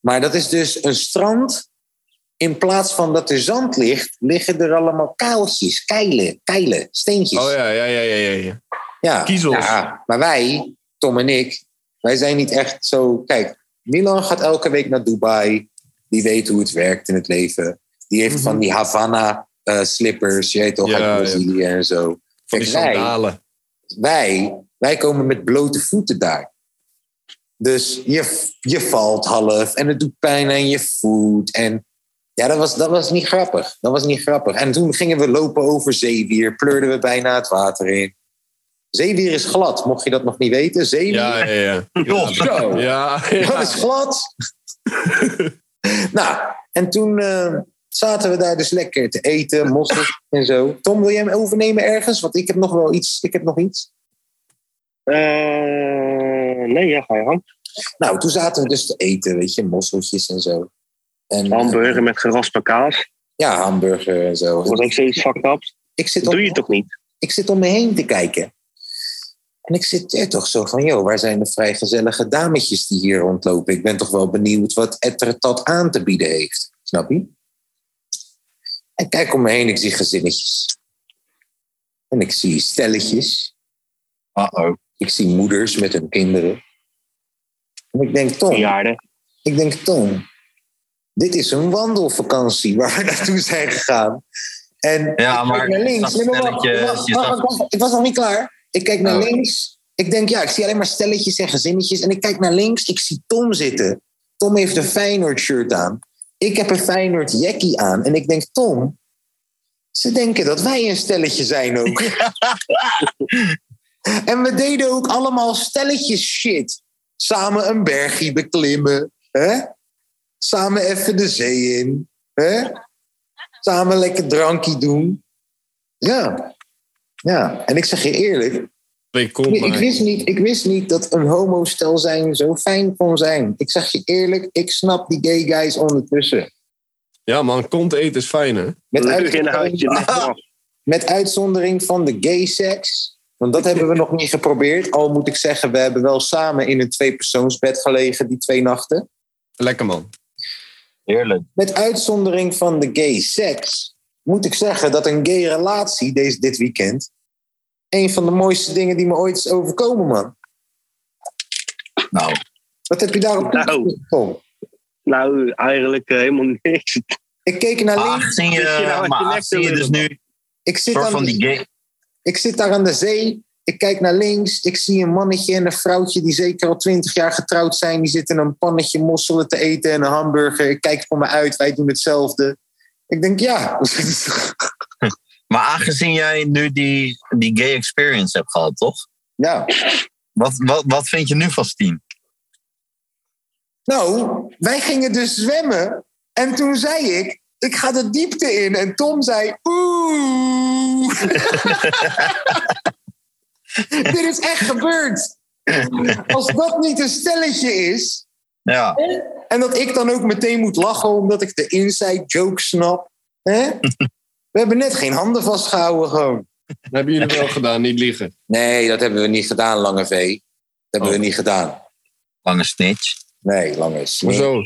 Speaker 1: Maar dat is dus een strand. In plaats van dat er zand ligt, liggen er allemaal kaaltjes, keilen, keilen, steentjes.
Speaker 3: Oh ja, ja, ja, ja, ja, ja.
Speaker 1: Ja.
Speaker 3: kiezels.
Speaker 1: Ja, maar wij, Tom en ik, wij zijn niet echt zo... Kijk, Milan gaat elke week naar Dubai. Die weet hoe het werkt in het leven. Die heeft van die Havana eh, slippers, je weet toch,
Speaker 3: Mhm. Ja,
Speaker 1: uit Brazilië en zo.
Speaker 3: Van die
Speaker 1: Kijk, wij-
Speaker 3: sandalen.
Speaker 1: wij, wij komen met blote voeten daar. Dus je, je valt half en het doet pijn aan je voet. En ja, dat was, dat was niet grappig. Dat was niet grappig. En toen gingen we lopen over zeewier, pleurden we bijna het water in. Zeewier is glad, mocht je dat nog niet weten. Zeewier,
Speaker 3: Ja, ja, ja.
Speaker 2: Joh,
Speaker 1: zo.
Speaker 3: [laughs] Ja,
Speaker 1: dat
Speaker 3: ja.
Speaker 1: is
Speaker 3: [laughs]
Speaker 1: glad. nou, en toen eh, zaten we daar dus lekker te eten, mossels en zo. Tom, wil jij hem overnemen ergens? Want ik heb nog wel iets. Ik heb nog iets.
Speaker 4: Eh, nee, ja, ga je gang.
Speaker 1: Nou, toen zaten we dus te eten, weet je, mosseltjes en zo. En,
Speaker 4: Hamburger met geraspte kaas.
Speaker 1: Ja, hamburger en zo.
Speaker 4: Dat was ook zoiets fucked ups.
Speaker 1: Ik zit,
Speaker 4: Dat doe
Speaker 1: om,
Speaker 4: je toch niet?
Speaker 1: ik zit om me heen te kijken. En ik zit er toch zo van, joh, waar zijn de vrijgezellige dametjes die hier rondlopen? Ik ben toch wel benieuwd wat Ettertad aan te bieden heeft. Snap je? En kijk om me heen, ik zie gezinnetjes. En ik zie stelletjes.
Speaker 2: Uh-oh.
Speaker 1: Ik zie moeders met hun kinderen. En ik denk, Tom,
Speaker 4: Verjaarden.
Speaker 1: ik denk, Tom, dit is een wandelvakantie waar we [laughs] naartoe zijn gegaan. En
Speaker 2: Ja,
Speaker 1: ik
Speaker 2: maar
Speaker 1: kijk naar links.
Speaker 2: dat
Speaker 1: Nee, maar wacht,
Speaker 2: stelletje-
Speaker 1: wacht,
Speaker 2: je
Speaker 1: wacht,
Speaker 2: zag-
Speaker 1: wacht, wacht, ik was nog niet klaar. Ik kijk naar
Speaker 2: Oh.
Speaker 1: links. Ik denk, ja, ik zie alleen maar stelletjes en gezinnetjes. En ik kijk naar links, ik zie Tom zitten. Tom heeft een Feyenoord shirt aan. Ik heb een Feyenoord jackie aan. En ik denk, Tom, ze denken dat wij een stelletje zijn
Speaker 2: [laughs]
Speaker 1: ook. [laughs] en we deden ook allemaal stelletjes shit. Samen een bergje beklimmen. Hè? Samen even de zee in. Hè? Samen lekker drankje doen. Ja. Ja, en ik zeg je eerlijk,
Speaker 3: Ik kom
Speaker 1: ik, ik,
Speaker 3: maar.
Speaker 1: wist niet, ik wist niet dat een homostel zijn zo fijn kon zijn. Ik zeg je eerlijk, ik snap die gay guys ondertussen.
Speaker 3: Ja man, kont eten is fijn hè.
Speaker 1: Met,
Speaker 4: Lekker in een
Speaker 1: [laughs]
Speaker 4: huisje.
Speaker 1: uitzondering,
Speaker 4: lekker af.
Speaker 1: met uitzondering van de gay seks. Want dat hebben we nog niet geprobeerd. Al moet ik zeggen, we hebben wel samen in een tweepersoonsbed gelegen die twee nachten.
Speaker 3: Lekker man.
Speaker 2: Heerlijk.
Speaker 1: Met uitzondering van de gay seks moet ik zeggen dat een gay relatie deze, dit weekend een van de mooiste dingen die me ooit is overkomen, man.
Speaker 2: Nou,
Speaker 1: Wat heb je daarop
Speaker 4: Nou.
Speaker 1: toegevoegd, Tom?
Speaker 4: Nou, eigenlijk eh, helemaal [laughs] niks.
Speaker 1: Ik keek naar
Speaker 2: maar
Speaker 1: links.
Speaker 2: aangezien
Speaker 4: Misschien
Speaker 2: je,
Speaker 4: nou had je
Speaker 2: maar
Speaker 4: nek
Speaker 2: aangezien je
Speaker 4: willen
Speaker 2: dus nu
Speaker 1: Ik zit,
Speaker 2: Ah, soort
Speaker 1: aan
Speaker 2: van die
Speaker 1: de,
Speaker 2: gay...
Speaker 1: ik zit daar aan de zee. Ik kijk naar links. Ik zie een mannetje en een vrouwtje die zeker al twintig jaar getrouwd zijn. Die zitten een pannetje mosselen te eten en een hamburger. Ik kijk voor me uit. Wij doen hetzelfde. Ik denk, ja. [laughs]
Speaker 2: Maar aangezien jij nu die, die gay experience hebt gehad, toch?
Speaker 1: ja.
Speaker 2: Wat, wat, wat vind je nu van Steam?
Speaker 1: Nou, wij gingen dus zwemmen. En toen zei ik, ik ga de diepte in. En Tom zei, oeh. [laughs] Dit is echt gebeurd. Als dat niet een stelletje is.
Speaker 2: Ja,
Speaker 1: En dat ik dan ook meteen moet lachen omdat ik de inside joke snap. Hè? We hebben net geen handen vastgehouden gewoon.
Speaker 3: Dat hebben jullie wel gedaan, niet liegen.
Speaker 1: Nee, dat hebben we niet gedaan, Lange V. Dat hebben we niet gedaan.
Speaker 2: lange snitch.
Speaker 1: Nee, Lange is.
Speaker 3: Hoezo?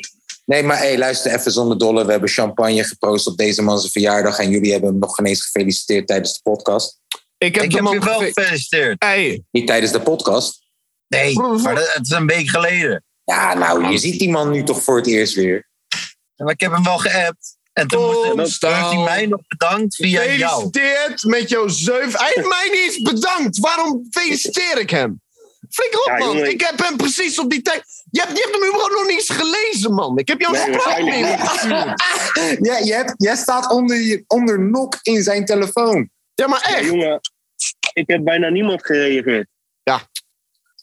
Speaker 1: Nee, maar hey, luister even zonder dolle. We hebben champagne geproost op deze man zijn verjaardag. En jullie hebben hem nog geen eens gefeliciteerd tijdens de podcast.
Speaker 3: Ik heb
Speaker 2: Ik
Speaker 3: de
Speaker 2: heb
Speaker 3: man
Speaker 2: je wel
Speaker 3: gefe-
Speaker 2: gefeliciteerd.
Speaker 3: Hey,
Speaker 1: Niet tijdens de podcast.
Speaker 2: Nee, maar dat, het is een week geleden.
Speaker 1: Ja, nou, je ziet die man nu toch voor het eerst weer.
Speaker 2: Maar ik heb hem wel geappt. En toen,
Speaker 3: Kom,
Speaker 2: moest, toen heeft hij
Speaker 3: Staal.
Speaker 2: mij nog bedankt via jou.
Speaker 3: gefeliciteerd met jouw zeuf. Hij heeft mij niet eens bedankt. Waarom feliciteer ik hem? Flikker op,
Speaker 4: Ja,
Speaker 3: man.
Speaker 4: jongen.
Speaker 3: Ik heb hem precies op die tijd... Je hebt, je hebt hem überhaupt nog niet eens gelezen, man. Ik heb jou een
Speaker 4: Nee,
Speaker 3: spraakmelding
Speaker 4: waarschijnlijk
Speaker 3: gestuurd.
Speaker 1: [laughs] Ja, je hebt, jij staat onder, je- onder nok in zijn telefoon.
Speaker 3: Ja, maar
Speaker 4: Ja,
Speaker 3: echt.
Speaker 4: jongen, ik heb bijna niemand gereageerd.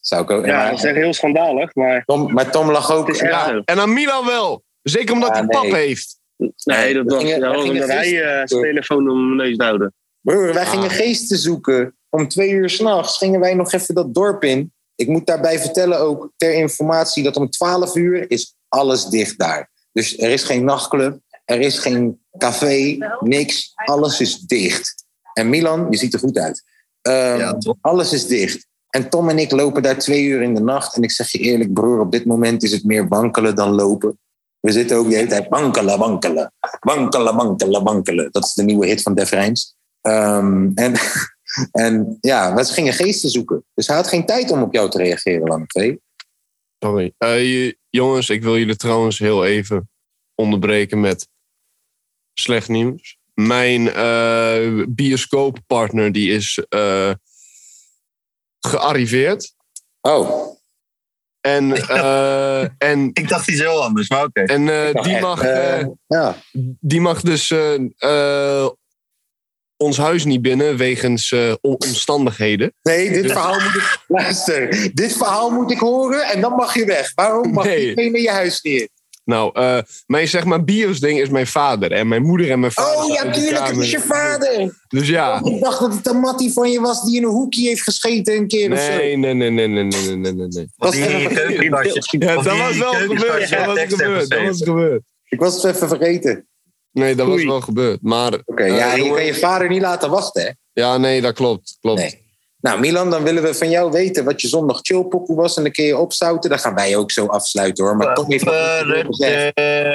Speaker 1: Zou ik ook.
Speaker 4: Ja, dat is
Speaker 1: maar,
Speaker 4: echt heel schandalig, maar
Speaker 1: Tom, maar Tom lag ook.
Speaker 4: het is echt
Speaker 1: Ja,
Speaker 4: zo.
Speaker 3: En aan Milan wel. Zeker omdat
Speaker 1: Ja,
Speaker 3: hij pap
Speaker 1: nee.
Speaker 3: heeft.
Speaker 4: Nee, dat
Speaker 1: we
Speaker 4: was
Speaker 1: gingen- we
Speaker 4: ja,
Speaker 1: gingen
Speaker 4: omdat hij eh zijn telefoon om mijn neus duwde.
Speaker 1: broer, wij gingen
Speaker 3: Ah.
Speaker 1: geesten zoeken. Om twee uur s'nachts gingen wij nog even dat dorp in. Ik moet daarbij vertellen ook ter informatie dat om 12 uur is alles dicht daar. Dus er is geen nachtclub, er is geen café, niks. Alles is dicht. En Milan, je ziet er goed uit. Ehm,
Speaker 2: Ja, toch?
Speaker 1: alles is dicht. En Tom en ik lopen daar twee uur in de nacht. En ik zeg je eerlijk, broer, op dit moment is het meer wankelen dan lopen. We zitten ook de hele tijd wankelen, wankelen. Wankelen, wankelen, wankelen. Dat is de nieuwe hit van Def Rijms. Ehm, en, en ja, we gingen geesten zoeken. Dus hij had geen tijd om op jou te reageren, Lange V.
Speaker 3: Sorry. Eh, j- jongens, ik wil jullie trouwens heel even onderbreken met slecht nieuws. Mijn eh, bioscooppartner die is eh, gearriveerd.
Speaker 1: Oh,
Speaker 3: En,
Speaker 1: [laughs]
Speaker 3: eh, en,
Speaker 2: Ik dacht iets heel anders, maar oké.
Speaker 3: en eh,
Speaker 1: dacht
Speaker 3: die,
Speaker 1: echt,
Speaker 3: mag,
Speaker 1: eh,
Speaker 3: eh,
Speaker 1: ja.
Speaker 3: die mag dus eh, eh, ons huis niet binnen wegens eh, on- omstandigheden.
Speaker 1: Nee,
Speaker 3: Dus-
Speaker 1: dit verhaal moet ik... [laughs] Luister, dit verhaal moet ik horen en dan mag je weg. Waarom mag
Speaker 3: Nee.
Speaker 1: je niet in je huis neer?
Speaker 3: Nou, eh, mijn zeg maar biosding is mijn vader. En mijn moeder en mijn vader.
Speaker 1: Oh, ja,
Speaker 3: uit de
Speaker 1: tuurlijk, het
Speaker 3: kamer.
Speaker 1: is je vader.
Speaker 3: Dus ja.
Speaker 1: Ik dacht dat het een mattie van je was die in een hoekje heeft gescheten een keer of zo.
Speaker 3: Nee, nee, nee, nee, nee, nee, nee, nee, nee.
Speaker 2: Of die in je keukenkastje.
Speaker 3: Ja,
Speaker 2: Of
Speaker 3: dat
Speaker 2: die in
Speaker 3: was
Speaker 2: je
Speaker 3: wel
Speaker 2: keukenkastje
Speaker 3: gebeurd. Dat was
Speaker 2: tekst heeft
Speaker 3: gebeurd. Dat was
Speaker 2: geschreven.
Speaker 3: gebeurd.
Speaker 1: Ik was het even vergeten.
Speaker 3: Nee, dat was
Speaker 4: Oei.
Speaker 3: wel gebeurd. Maar
Speaker 1: Oké,
Speaker 3: eh,
Speaker 1: ja, en je
Speaker 3: jongen-
Speaker 1: kan je vader niet laten wachten, hè?
Speaker 3: ja, nee, dat klopt. klopt.
Speaker 1: Nee. Nou, Milan, dan willen we van jou weten wat je zondag chillpokoe was. En dan kun je opzouten. Dan gaan wij ook zo afsluiten, hoor. Maar Tom heeft nog niet zoveel gezegd.
Speaker 3: Eh,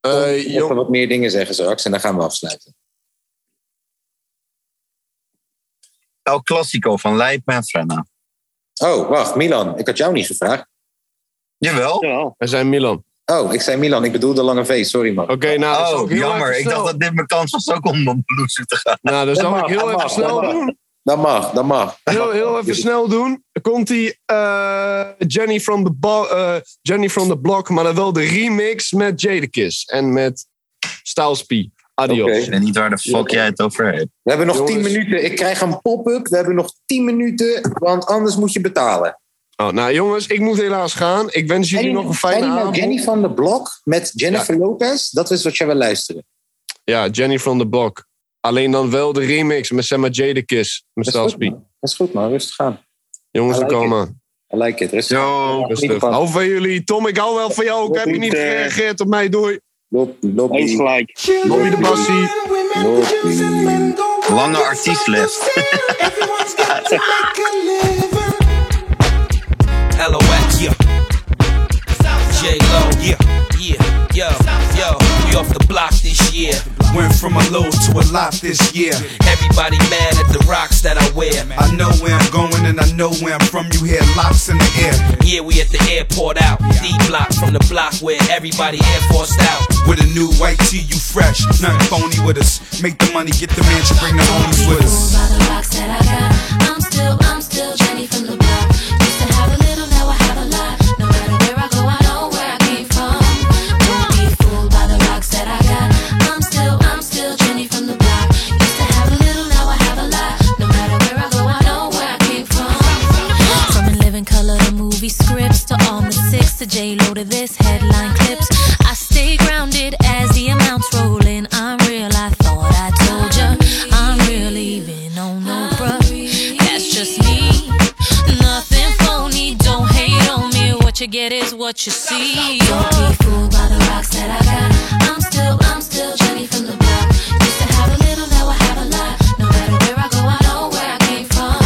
Speaker 1: Tom
Speaker 3: jong-
Speaker 1: moet wat meer dingen zeggen straks. En dan gaan we afsluiten.
Speaker 2: El Clasico van Leipzig en Frenna.
Speaker 1: Oh, wacht, Milan. Ik had jou niet gevraagd.
Speaker 2: Jawel.
Speaker 4: Jawel.
Speaker 3: we zijn Milan.
Speaker 1: Oh, ik zei Milan. Ik bedoelde Lange V. Sorry, man.
Speaker 3: Oké, nou, dat zou
Speaker 2: Oh,
Speaker 3: ik heel
Speaker 2: jammer.
Speaker 3: erg
Speaker 2: Ik
Speaker 3: snel-
Speaker 2: dacht dat dit mijn kans was ook om op bloed te gaan.
Speaker 3: Nou, dat zou ik heel
Speaker 1: mag,
Speaker 3: even
Speaker 1: dat
Speaker 3: snel
Speaker 1: mag.
Speaker 3: doen.
Speaker 1: Dat mag, dat mag.
Speaker 3: Heel, heel even snel doen. Dan Komt die eh, Jenny, from the Bo- eh, Jenny from the Block, maar dan wel de remix met Jadakiss en met Stylespie. Adios.
Speaker 1: Oké.
Speaker 2: Ik weet niet waar de fuck jij het over hebt.
Speaker 1: We hebben nog
Speaker 3: Jongens.
Speaker 1: 10 minuten. Ik krijg een pop-up. We hebben nog 10 minuten, want anders moet je betalen.
Speaker 3: Oh, nou, jongens, ik moet helaas gaan. Ik wens jullie nog een fijne
Speaker 1: Ken je nou
Speaker 3: avond.
Speaker 1: Jenny van de Blok met Jennifer Lopez. Dat is wat jij wil luisteren.
Speaker 3: Ja, Jenny from the Block. Alleen dan wel de remix met Sam Jadakiss met
Speaker 1: Dat is, goed,
Speaker 3: Stylespie.
Speaker 1: man. dat is goed, man. Rustig aan.
Speaker 3: Jongens, we
Speaker 1: I like it.
Speaker 3: komen.
Speaker 1: I like it. Rustig aan.
Speaker 2: Yo.
Speaker 3: Rustig.
Speaker 1: van.
Speaker 3: Hou van jullie. Tom, ik hou wel van jou. Ik heb je niet
Speaker 4: Goed, eh.
Speaker 3: gereageerd op mij. Doei.
Speaker 1: Lop, lop,
Speaker 4: Eens gelijk.
Speaker 3: Bobby de Bassie.
Speaker 2: Lange artiestlijst.
Speaker 7: LOX. Yeah. J Lo. Yeah. Yeah. Yo. Yo. We off the block this year. Went from a low to a lot this year. Everybody mad at the rocks that I wear.
Speaker 8: I know where I'm going and I know where I'm from. You hear locks in the air
Speaker 7: Yeah, we at the airport out. D block from the block where everybody air forced out.
Speaker 8: with a new white tee, you fresh. Nothing phony with us. Make the money, get the mansion, bring the homies with us.
Speaker 9: by the rocks that I got. I'm still, I'm still Jenny from the block. Used to have a little, now I have a lot. No matter where I go, I know where I came from. Don't be fooled by the rocks that I got. I'm still, I'm still Jenny from the block. Used to have a little, now I have a lot. No matter where I go, I know where I came from. From in living color to movie scripts to all my six to J Lo to this headline clips. I stay grounded as the amounts roll in. I'm real. I thought I told ya. I'm real even on no bruh. That's just me. Nothing phony. Don't hate on me. What you get is what you see. Don't be fooled by the rocks that I got. I'm still, I'm still Jenny from the block. Used to have a little, now I have a lot. No matter where I go, I know where I came from.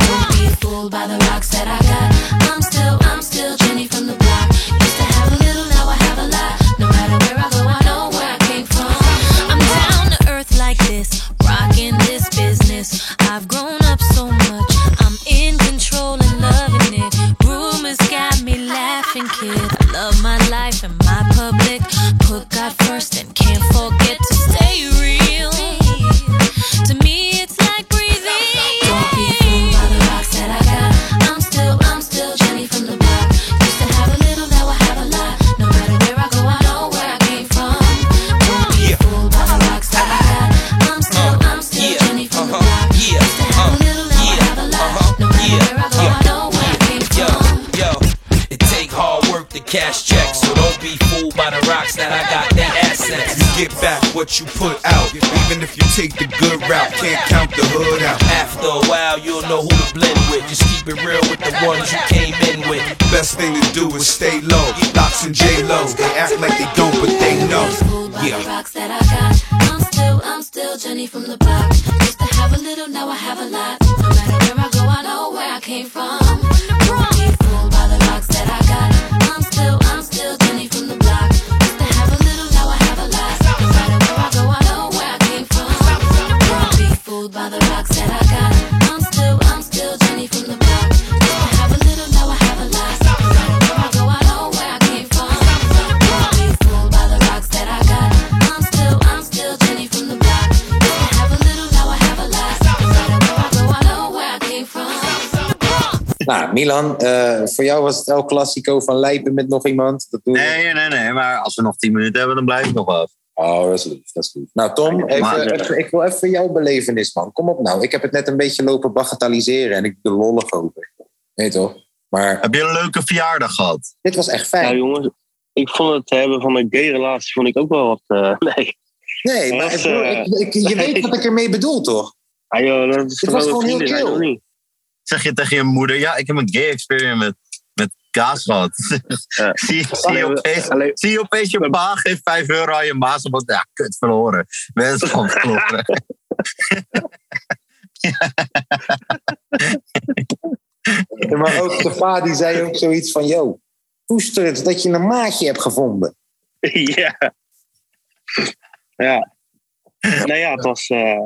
Speaker 9: Don't be fooled by the rocks that I got. I'm still, I'm still Jenny from the block. Used to have a little, now I have a lot. No matter where I go, I know where I came from. I'm down to earth like this, rocking this business. I've grown up so much. I'm in control and loving it. Rumors got me laughing, kid. I love my life and my public. Put God first and can't forget to stay real. To me, it's like breathing. Don't be fooled by the rocks that I got. I'm still, I'm still Jenny from the block. Used to have a little, now I have a lot. No matter where I go, I know where I came from. Don't be fooled by the rocks that I got. I'm still, I'm still
Speaker 7: Uh-huh. Yeah.
Speaker 9: Jenny from the
Speaker 7: Uh-huh.
Speaker 9: block.
Speaker 7: Yeah.
Speaker 9: Used to have a little,
Speaker 7: Yeah.
Speaker 9: now I have a lot.
Speaker 7: Uh-huh.
Speaker 9: No
Speaker 7: Yeah.
Speaker 9: matter
Speaker 7: Uh-huh.
Speaker 9: where I go, I know where I came
Speaker 7: Yo,
Speaker 9: from.
Speaker 7: yo, it take hard work to cash checks, so don't be fooled by the rocks that I got that assets.
Speaker 8: You get back what you put out. Even if you take the good route, can't count the hood out.
Speaker 7: After a while, you'll know who to blend with. Just keep it real with the ones you came in with.
Speaker 8: Best thing to do is stay low. Locks and J-Lo's, they act like they don't, but they know.
Speaker 9: Yeah. Rocks that I got. I'm still, I'm still Jenny from the block. Used to have a little, now I have a lot. No matter where I go, I know where I came from. Don't be fooled by the rocks that I got. I'm still, I'm still Jenny from the block. Used to have a little, now I have a lot. No matter where I go, I know where I came from. Don't be fooled by the rocks that I got. I'm still, I'm still Jenny from the block. Used to have a little, now I have a lot. No matter where I go, I know where I came from. Don't be fooled by the rocks that I got. I'm still, I'm still Jenny from the block. Used to have a little, now I have a lot. No matter where I go, I know where I came from.
Speaker 1: Nou, Milan, eh, voor jou was het El Clasico van Lijpen met nog iemand. Dat doen we.
Speaker 2: Nee, nee, nee. Maar als we nog 10 minuten hebben, dan blijf ik nog af.
Speaker 1: Oh, dat is lief, dat is lief. Nou, Tom,
Speaker 2: Maar- eh,
Speaker 1: even, even- ik wil even jouw belevenis, man. Kom op nou. Ik heb het net een beetje lopen bagatelliseren en ik ben er lollig over. Nee, toch? Maar
Speaker 2: Heb je een leuke verjaardag gehad?
Speaker 1: dit was echt
Speaker 4: Nou
Speaker 1: fijn.
Speaker 4: jongens, ik vond het hebben van een gay relatie vond ik ook wel wat. eh, [laughs] nee.
Speaker 1: Nee, maar
Speaker 4: dat
Speaker 1: ik
Speaker 4: is,
Speaker 1: bedoel,
Speaker 4: eh,
Speaker 1: ik, ik- je weet wat ik ermee bedoel, toch?
Speaker 4: Ah, joh, dat is
Speaker 1: Het
Speaker 4: gewoon een
Speaker 1: was gewoon heel
Speaker 4: vriendin, hij
Speaker 1: chill.
Speaker 4: nog niet.
Speaker 2: Zeg je tegen je moeder, ja, ik heb een gay experiment met, met kaas gehad. [laughs] zie, zie, je opeens,
Speaker 4: [laughs]
Speaker 2: zie je opeens je pa geeft 5 euro aan je maas. Omdat, ja, kut verloren. Mensen van verloren.
Speaker 1: Ja, maar ook de pa die zei ook zoiets van: Yo, koester het dat je een maatje hebt gevonden.
Speaker 4: Ja. Ja. Nou ja, het was, eh,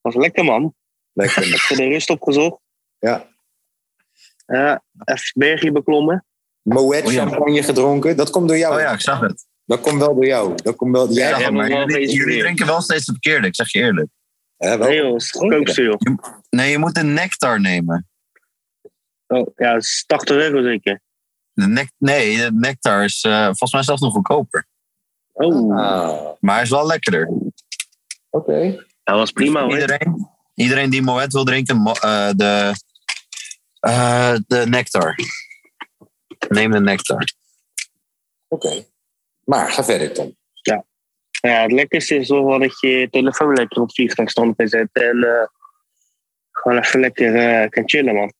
Speaker 4: was lekker, man.
Speaker 1: Lekker.
Speaker 4: Even de rust opgezocht.
Speaker 1: Ja.
Speaker 4: Ja, even bergje beklommen.
Speaker 1: Moet
Speaker 4: Oh ja.
Speaker 1: champagne gedronken, dat komt door jou.
Speaker 2: Oh ja, ik zag het.
Speaker 1: Dat komt wel door jou. Dat komt wel, jij
Speaker 2: Ja,
Speaker 1: hebt
Speaker 2: maar
Speaker 1: hem wel
Speaker 2: jullie, jullie
Speaker 1: geïnspireerd.
Speaker 2: drinken wel steeds het verkeerde, ik zeg je eerlijk.
Speaker 1: Ja, wel.
Speaker 4: Nee, joh, het is het goedkoopste, joh.
Speaker 2: Je- nee, je moet de nectar nemen.
Speaker 4: Oh, ja, het is 80 euro zeker.
Speaker 2: De nec- nee, de nectar is eh, volgens mij zelfs nog goedkoper.
Speaker 4: Oh,
Speaker 1: Ah,
Speaker 2: Maar hij is wel lekkerder.
Speaker 1: Oké.
Speaker 4: dat was prima, hoor.
Speaker 2: Iedereen, iedereen die Moet wil drinken, mo- eh, de, eh, de nectar. Neem de nectar.
Speaker 1: Oké. Maar ga verder, Tom.
Speaker 4: Ja, het lekkerste is toch wel dat je je telefoon lekker op vliegtuigstand kan zetten en eh, gewoon even lekker eh, kan chillen, man.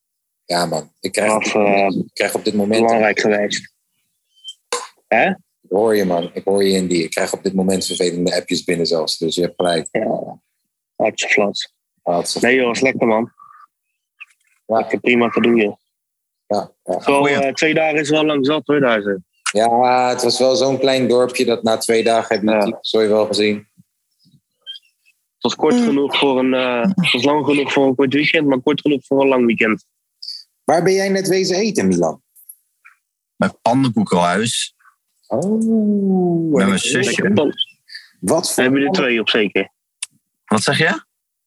Speaker 1: Ja, man. Ik krijg,
Speaker 4: Dat
Speaker 1: op dit
Speaker 4: is
Speaker 1: moment- ik krijg op dit moment.
Speaker 4: eh, belangrijk geweest. Hè?
Speaker 1: Ik hoor je, man. Ik hoor je in die. Ik krijg op dit moment vervelende appjes binnen zelfs. Dus je hebt gelijk.
Speaker 4: Ja, hartje flats.
Speaker 1: Laatste.
Speaker 4: Nee joh, is lekker man. Lekker prima te doen joh.
Speaker 1: Ja, ja.
Speaker 4: Zo, eh, twee dagen is wel lang zat hoor daar zo.
Speaker 1: ja, het was wel zo'n klein dorpje dat na twee dagen heb je
Speaker 4: Ja.
Speaker 1: die sorry wel gezien.
Speaker 4: Het was kort genoeg voor een, eh, het was lang genoeg voor een kort weekend, maar kort genoeg voor een lang weekend.
Speaker 1: Waar ben jij net wezen eten, Milan?
Speaker 2: Met pannenkoekenhuis.
Speaker 1: Oh,
Speaker 2: Met
Speaker 1: en
Speaker 2: mijn
Speaker 1: ik-
Speaker 2: zusje.
Speaker 4: Dan
Speaker 1: wat voor
Speaker 4: hebben jullie er twee op zeker.
Speaker 2: Wat zeg je?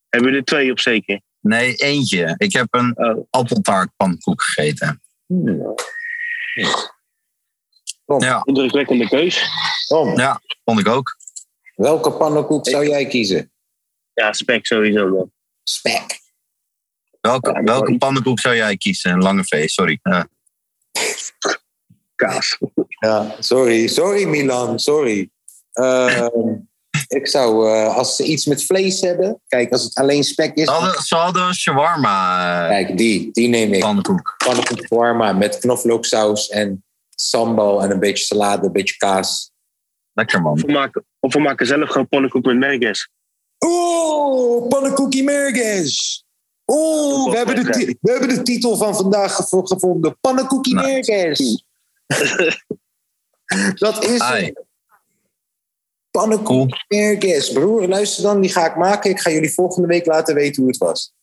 Speaker 4: Hebben jullie er twee op zeker?
Speaker 2: Nee, eentje. Ik heb een
Speaker 4: Oh.
Speaker 2: appeltaart pannenkoek gegeten.
Speaker 1: Hmm.
Speaker 4: Indrukwekkende keus.
Speaker 1: Tom,
Speaker 2: Ja, vond ik ook.
Speaker 1: welke pannenkoek zou jij kiezen?
Speaker 4: Ja, spek sowieso man.
Speaker 1: Spek.
Speaker 2: Welke, welke pannenkoek zou jij kiezen? Een lange feest, sorry. Ja.
Speaker 4: Kaas.
Speaker 1: Ja, sorry, sorry Milan, sorry. Ehm, [laughs] ik zou, eh, als ze iets met vlees hebben, kijk, als het alleen spek is,
Speaker 2: Ze hadden- Ze hadden een shawarma eh,
Speaker 1: kijk, die, die neem ik.
Speaker 2: pannenkoek.
Speaker 1: Pannenkoek shawarma met knoflooksaus en sambal en een beetje salade, een beetje kaas.
Speaker 2: Lekker man.
Speaker 4: Of we maken, of we maken zelf gewoon pannenkoek met merkers.
Speaker 1: Oeh, pannenkoekie merges. Oeh, we hebben, de ti- we hebben de titel van vandaag gevo- gevonden. Pannenkoekie merges. Dat is
Speaker 2: Ai.
Speaker 1: het. Pannenkoekie
Speaker 2: Cool.
Speaker 1: merges. Broer, luister dan, die ga ik maken. Ik ga jullie volgende week laten weten hoe het was.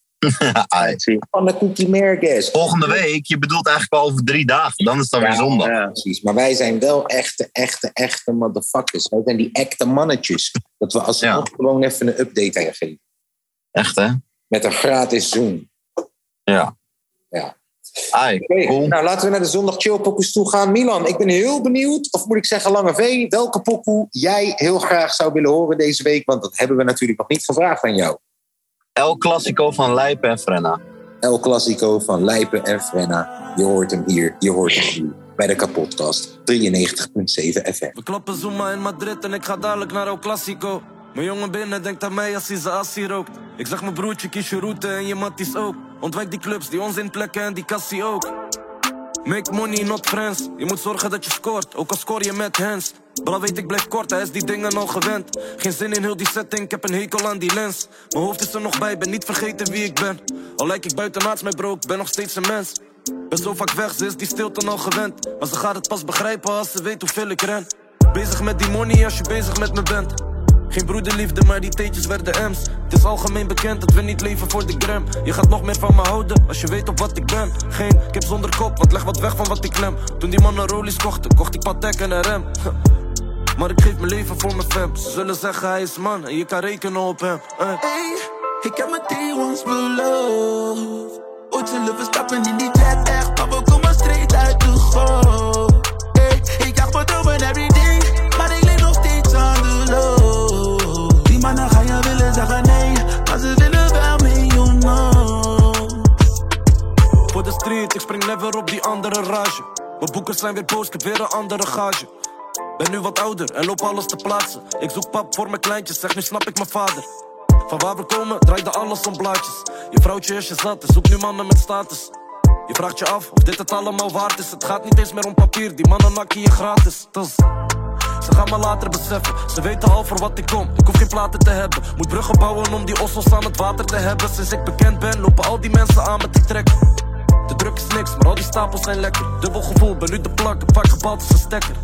Speaker 2: Ai.
Speaker 4: Zie.
Speaker 1: Pannenkoekie merges.
Speaker 2: Volgende week, je bedoelt eigenlijk al over drie dagen. Dan is het dan weer zondag.
Speaker 4: Ja.
Speaker 1: Precies, maar wij zijn wel echte, echte, echte motherfuckers. Wij zijn die echte mannetjes. Dat we alsnog gewoon even een update aan je geven.
Speaker 2: Echt hè?
Speaker 1: Met een gratis Zoom.
Speaker 2: Ai,
Speaker 1: Oké,
Speaker 2: cool.
Speaker 1: Nou, laten we naar de zondag chillpokoes toe gaan. Milan, ik ben heel benieuwd, of moet ik zeggen Lange V, welke pokoe jij heel graag zou willen horen deze week? Want dat hebben we natuurlijk nog niet gevraagd aan jou.
Speaker 2: El Clasico van Lijpen en Frenna.
Speaker 1: El Clasico van Lijpen en Frenna. Je hoort hem hier, je hoort hem hier. Bij de kapotkast 93.7 FM.
Speaker 6: We klappen Zuma in Madrid en ik ga dadelijk naar El Clasico. Mijn jongen binnen denkt aan mij als hij zijn assie rookt. Ik zeg mijn broertje, kies je route en je matties ook. Ontwijk die clubs, die onzinplekken en die kassie ook. Make money, not friends. Je moet zorgen dat je scoort, ook al score je met hands. Bra weet ik blijf kort, hij is die dingen al gewend. Geen zin in heel die setting, ik heb een hekel aan die lens. Mijn hoofd is er nog bij, ben niet vergeten wie ik ben. Al lijk ik buitenaards, mijn bro, ik ben nog steeds een mens. Ben zo vaak weg, ze is die stilte al gewend. Maar ze gaat het pas begrijpen als ze weet hoeveel ik ren. Bezig met die money als je bezig met me bent. Geen broederliefde, maar die teetjes werden M's. Het is algemeen bekend dat we niet leven voor de gram. Je gaat nog meer van me houden als je weet op wat ik ben. Geen kip zonder kop, want leg wat weg van wat ik klem. Toen die mannen rollies kochten, kocht ik Patek en een rem. Maar ik geef mijn leven voor mijn fam. Ze zullen zeggen hij is man en je kan rekenen op hem. Eh.
Speaker 10: Hey, ik heb mijn day ones beloofd. Ooit zullen we stappen in die jet echt, maar we komen straight uit de golf. Hey, ik jacht mijn dromen everyday, maar ik leef nog steeds aan de loop. Die mannen gaan je willen zeggen nee, maar ze willen wel miljoenen.
Speaker 6: Voor de street, ik spring never op die andere rage. Mijn boeken zijn weer boos, ik heb weer een andere gage. Ben nu wat ouder en loop alles te plaatsen. Ik zoek pap voor mijn kleintjes, zeg nu snap ik mijn vader. Van waar we komen, draaide alles om blaadjes. Je vrouwtje is je zat en zoekt nu mannen met status. Je Je vraagt je af of dit het allemaal waard is. Het gaat niet eens meer om papier, die mannen nakken je gratis. Dus, ze gaan me later beseffen, ze weten al voor wat ik kom. Ik hoef geen platen te hebben. Moet bruggen bouwen om die ossels aan het water te hebben. Sinds ik bekend ben, lopen al die mensen aan met die trek. De druk is niks, maar al die stapels zijn lekker. Dubbel gevoel, ben nu de plak, een pak gebald is een stekker.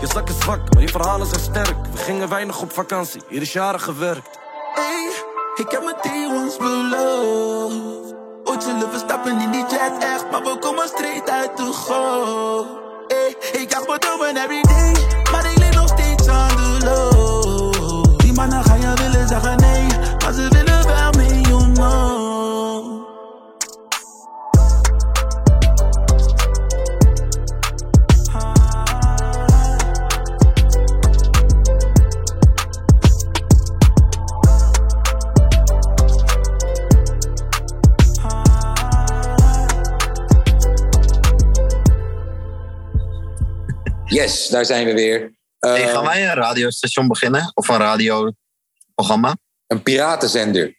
Speaker 6: Je zak is zwak, maar je verhalen zijn sterk. We gingen weinig op vakantie, hier is jaren gewerkt.
Speaker 10: Hey, ik heb mijn die ons beloofd. Ooit zullen we stappen in die jet, echt, maar we komen straight uit de golf. Hey, ik dacht we doen every day, maar ik leef nog steeds aan de loop. Die mannen gaan je willen zeggen nee, maar ze willen wel mee, you know.
Speaker 1: Yes, daar zijn we weer. Ehm,
Speaker 2: Hey,
Speaker 1: eh,
Speaker 2: gaan wij een radiostation beginnen? Of een radioprogramma?
Speaker 1: Een piratenzender.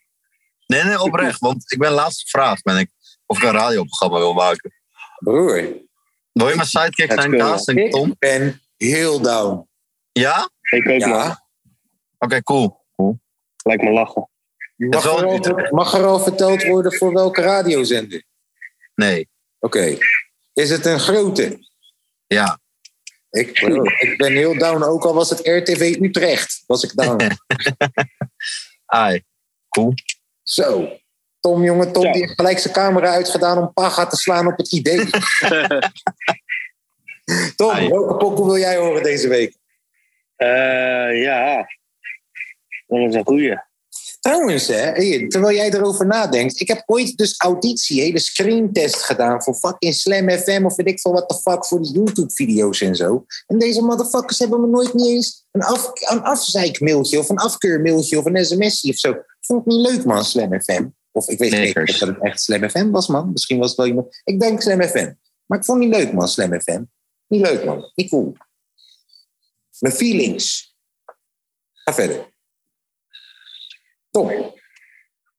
Speaker 2: Nee, nee, oprecht. Want ik ben laatst gevraagd ben ik, of ik een radioprogramma wil maken.
Speaker 1: Broer.
Speaker 2: Wil je mijn sidekick zijn, Kaas en Tom?
Speaker 1: Ik ben heel down.
Speaker 2: Ja?
Speaker 4: Ik ook,
Speaker 1: Ja.
Speaker 4: man. Oké,
Speaker 2: cool. cool.
Speaker 4: Lijkt me lachen.
Speaker 1: Mag er, al, mag er al verteld worden voor welke radiozender?
Speaker 2: Nee.
Speaker 1: Oké. Is het een grote?
Speaker 2: Ja.
Speaker 1: Ik, bro, ik ben heel down, ook al was het RTV Utrecht. Was ik down.
Speaker 2: Ai, cool.
Speaker 1: Zo. Tom, jongen, Tom, die heeft gelijk zijn camera uitgedaan om Paga te slaan op het idee. Tom, welke pokoe wil jij horen deze week?
Speaker 4: Eh, ja. Dat is een goeie.
Speaker 1: Trouwens, hè, hier, terwijl jij erover nadenkt. Ik heb ooit dus auditie, hele screentest gedaan voor fucking Slam FM of weet ik veel wat de fuck voor die YouTube-video's en zo. En deze motherfuckers hebben me nooit niet eens een, af, een afzeikmailtje of een afkeurmailtje of een sms'je of zo. Vond ik niet leuk, man, Slam FM. Of ik weet niet of dat het echt Slam FM was, man. Misschien was het wel iemand. Ik denk Slam FM. Maar ik vond het niet leuk, man, Slam FM. Niet leuk, man. Niet cool. Mijn feelings. Ga verder. Tom.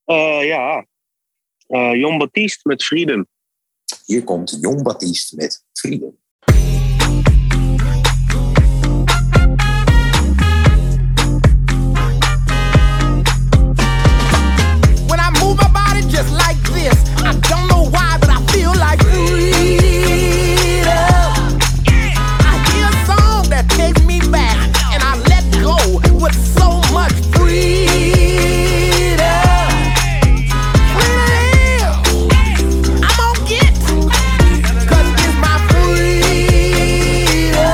Speaker 4: Eh, ja. Eh Jon Baptiste met Freedom.
Speaker 1: Hier komt Jon Baptiste met Freedom.
Speaker 11: When I move my body just like this, I don't know why, but I feel like freedom. I hear a song that takes me back, and I let go with so much freedom. Freedom. I'm gonna get, 'cause it's my freedom.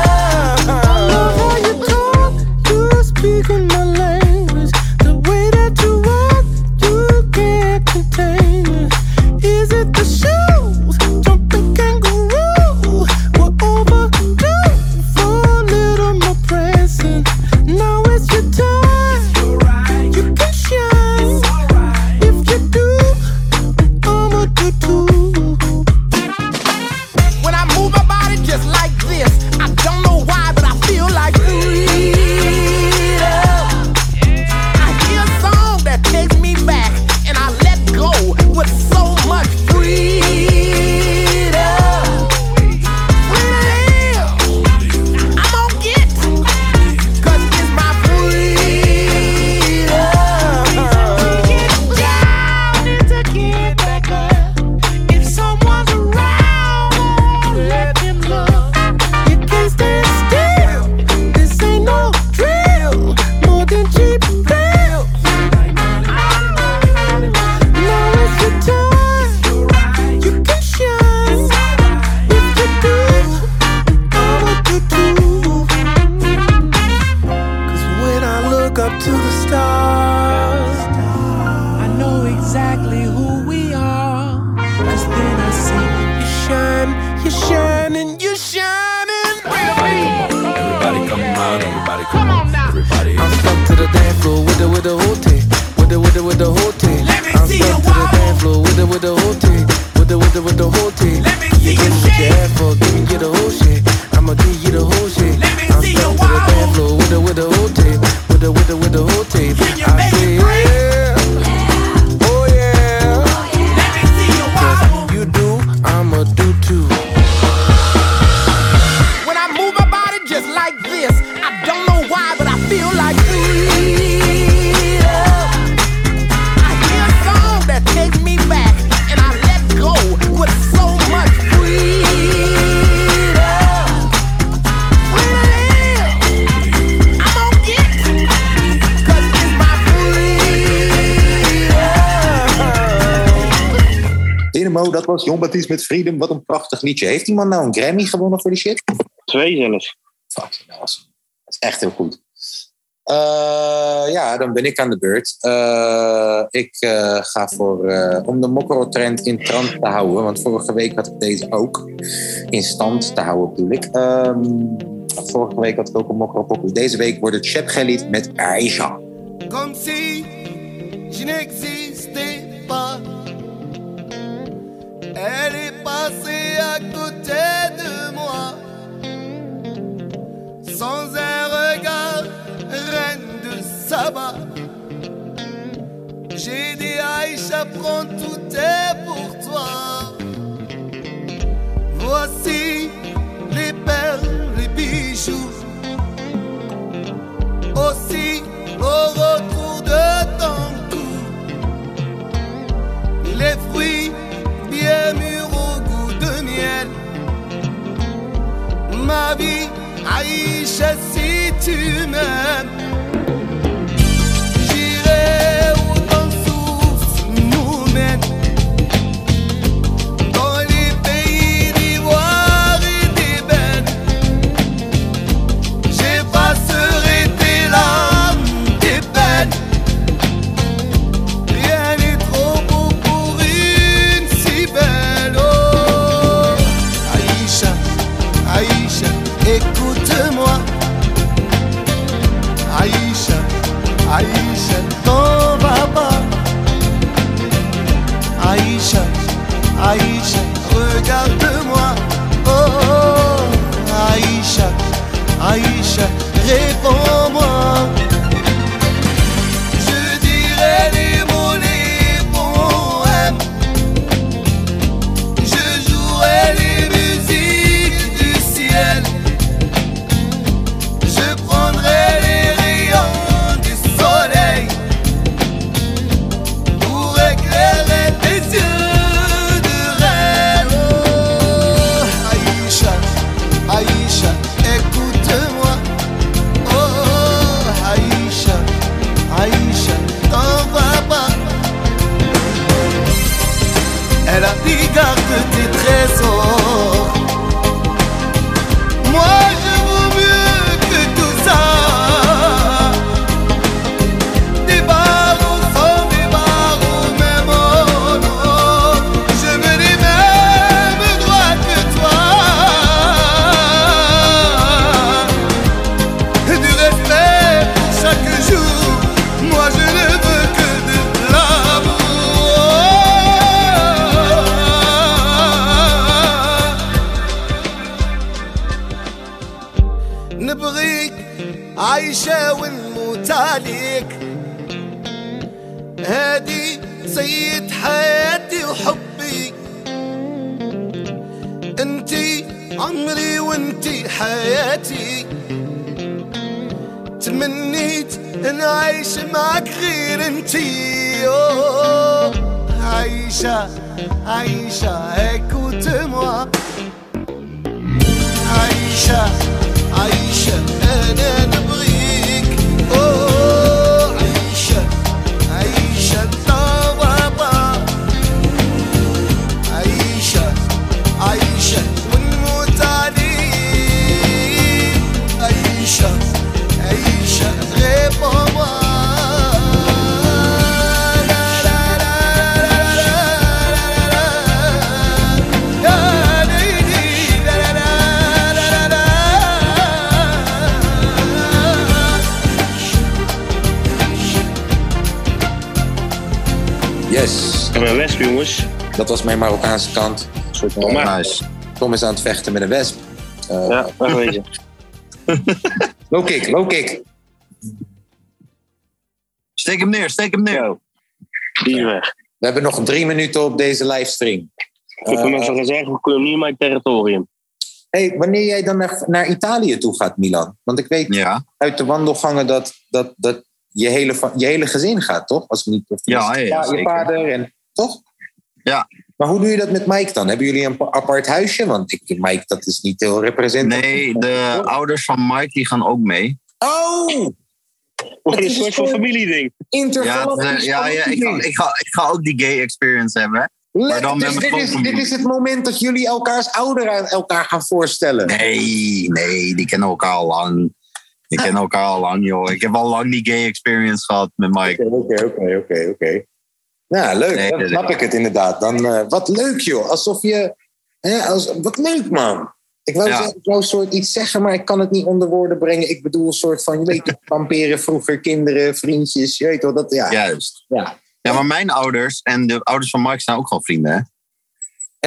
Speaker 11: I love how you talk, you speak in my language, the way that you walk. You can't contain it. Is it the shoes? Jumping kangaroo. We're overdue for a little more pressing. Now it's your time. You can shine if you do. I'ma do too. When I move my body just like this, I don't know why, but I feel like freedom. I hear a song that takes me back, and I let go with so much freedom. Freedom. I'm gonna get, 'cause it's my freedom. Down and to get back up. If someone's around, won't let them look. You can't stand still. This ain't no drill. More than cheap thrill. Now it's your time. You can shine. If you do, I will do too. 'Cause when I look up to the stars, I know exactly who we are. Cause then I see you shine, you shine, and you shine, and
Speaker 12: Everybody come on, everybody come
Speaker 11: Come on now.
Speaker 12: Everybody.
Speaker 10: to the dance floor with the with the whole team, with the with the with the whole team. Let me I'm see you to the dance floor with the with the whole team, with the with the with the whole team. Let me see you shake. Your for, give me you the whole shit. I'ma give you the whole shit. Let me I'm see you to the dance floor with the with the whole team, with the with the with the whole team. Can you I make say, it break? Yeah. Oh yeah. Let me see you wobble. You do, I'ma
Speaker 1: Primo, dat was Jon Baptiste met Freedom. Wat een prachtig liedje. Heeft die man nou een Grammy gewonnen voor die shit?
Speaker 4: Twee zelfs.
Speaker 1: Fucking awesome. Dat is echt heel goed. Eh, ja, dan ben ik aan de beurt. Eh, ik eh, ga voor, eh, om de mokro-trend in stand te houden, want vorige week had ik deze ook in stand te houden, bedoel ik. Ehm, vorige week had ik ook een mokro Deze week wordt het Shep Gelit met Aisha.
Speaker 13: Comme si je n'existais pas. Elle est passée à côté de moi. Sans un regard, reine de Saba. J'ai dit Aïcha, prends tout est pour toi. Voici les perles, les bijoux. Aussi au retour de ton cou. Les fruits bien mûrs au goût de miel. Ma vie, Aïcha, si tu m'aimes. J'irai où ton souffle nous mène. Dans les pays d'ivoire et d'ébène. J'effacerai tes larmes, tes peines. Rien n'est trop beau pour une si belle. Oh, Aïcha, Aïcha, écoute-moi. Aïcha, Aïcha, t'en vas pas. Aïcha, Aïcha, regarde-moi. Oh, oh, Aïcha. Aïcha, réponds-moi. Je dirai les mots, les poèmes. Je jouerai les musiques du ciel. Je prendrai les rayons du soleil pour éclairer tes yeux de rêve. Oh, Aïcha, Aïcha, écoute-moi. Oh, oh, Aïcha, Aïcha, t'en vas pas. Elle a dit garde tes trésors. Moi, je vaux mieux que tout ça. Des barreaux sans des barreaux, même en or. Je me les mêmes droits que toi. Du respect pour chaque jour, moi je ne veux que de l'amour. نبغيك عايشة ونموت عليك هادي سيد حياتي وحبي انتي عمري وانتي حياتي تمنيت نعيش معك غير انتي أوه، عايشة عايشة écoute-moi عايشة عايشة أنا نبغيك أوه، عايشة عايشة طبابة عايشة عايشة ونموت عليك عايشة عيشة غير بابا
Speaker 1: Yes.
Speaker 4: Een wesp, jongens.
Speaker 1: Dat was mijn Marokkaanse kant. soort
Speaker 4: Tom, hè?
Speaker 1: Tom is aan het vechten met een wesp. Eh,
Speaker 4: Ja, [laughs] wegwezen.
Speaker 1: low kick, low kick.
Speaker 2: Steek hem neer, steek hem neer.
Speaker 4: Die is weg.
Speaker 1: We hebben nog drie minuten op deze livestream.
Speaker 4: Ik heb hem
Speaker 1: Eh,
Speaker 4: even gezegd, we kunnen niet in mijn territorium.
Speaker 1: Hey, wanneer jij dan naar, naar Italië toe gaat, Milan? Want ik weet uit de wandelgangen dat, dat, dat je, hele, fa- je hele gezin gaat, toch? Als we niet, of
Speaker 2: Ja, ja,
Speaker 1: je,
Speaker 2: ja,
Speaker 1: pa- je
Speaker 2: zeker.
Speaker 1: vader en toch?
Speaker 2: Ja.
Speaker 1: Maar hoe doe je dat met Mike dan? Hebben jullie een pa- apart huisje? Want ik, Mike, dat is niet heel representatief.
Speaker 2: Nee, de ouders van Mike die gaan ook mee.
Speaker 1: Oh!
Speaker 4: Het is een soort van familieding.
Speaker 2: Ja, het is, eh, ja, ja ik, ga, ik, ga, ik ga ook die gay experience hebben.
Speaker 1: Let-
Speaker 2: dan
Speaker 1: dus
Speaker 2: met mijn
Speaker 1: dit, is, dit
Speaker 2: grootmoeder.
Speaker 1: is het moment dat jullie elkaars ouder aan elkaar gaan voorstellen.
Speaker 2: Nee, nee, die kennen elkaar al lang. Die kennen elkaar al lang, joh. Ik heb al lang die gay experience gehad met Mike.
Speaker 1: Oké, oké, oké, oké. Nou, leuk.
Speaker 2: Nee,
Speaker 1: dan
Speaker 2: nee,
Speaker 1: snap
Speaker 2: nee.
Speaker 1: ik het inderdaad. Dan, eh, wat leuk, joh. Alsof je... Hè, als, wat leuk, man. Ik wou,
Speaker 2: Ja.
Speaker 1: zo- ik wou soort iets zeggen, maar ik kan het niet onder woorden brengen. Ik bedoel, een soort van, je
Speaker 2: [laughs]
Speaker 1: weet je, kamperen vroeger, kinderen, vriendjes. Je weet wel, dat... Ja.
Speaker 2: Juist.
Speaker 1: Ja.
Speaker 2: Ja, maar mijn ouders en de ouders van Mike zijn ook gewoon vrienden, hè?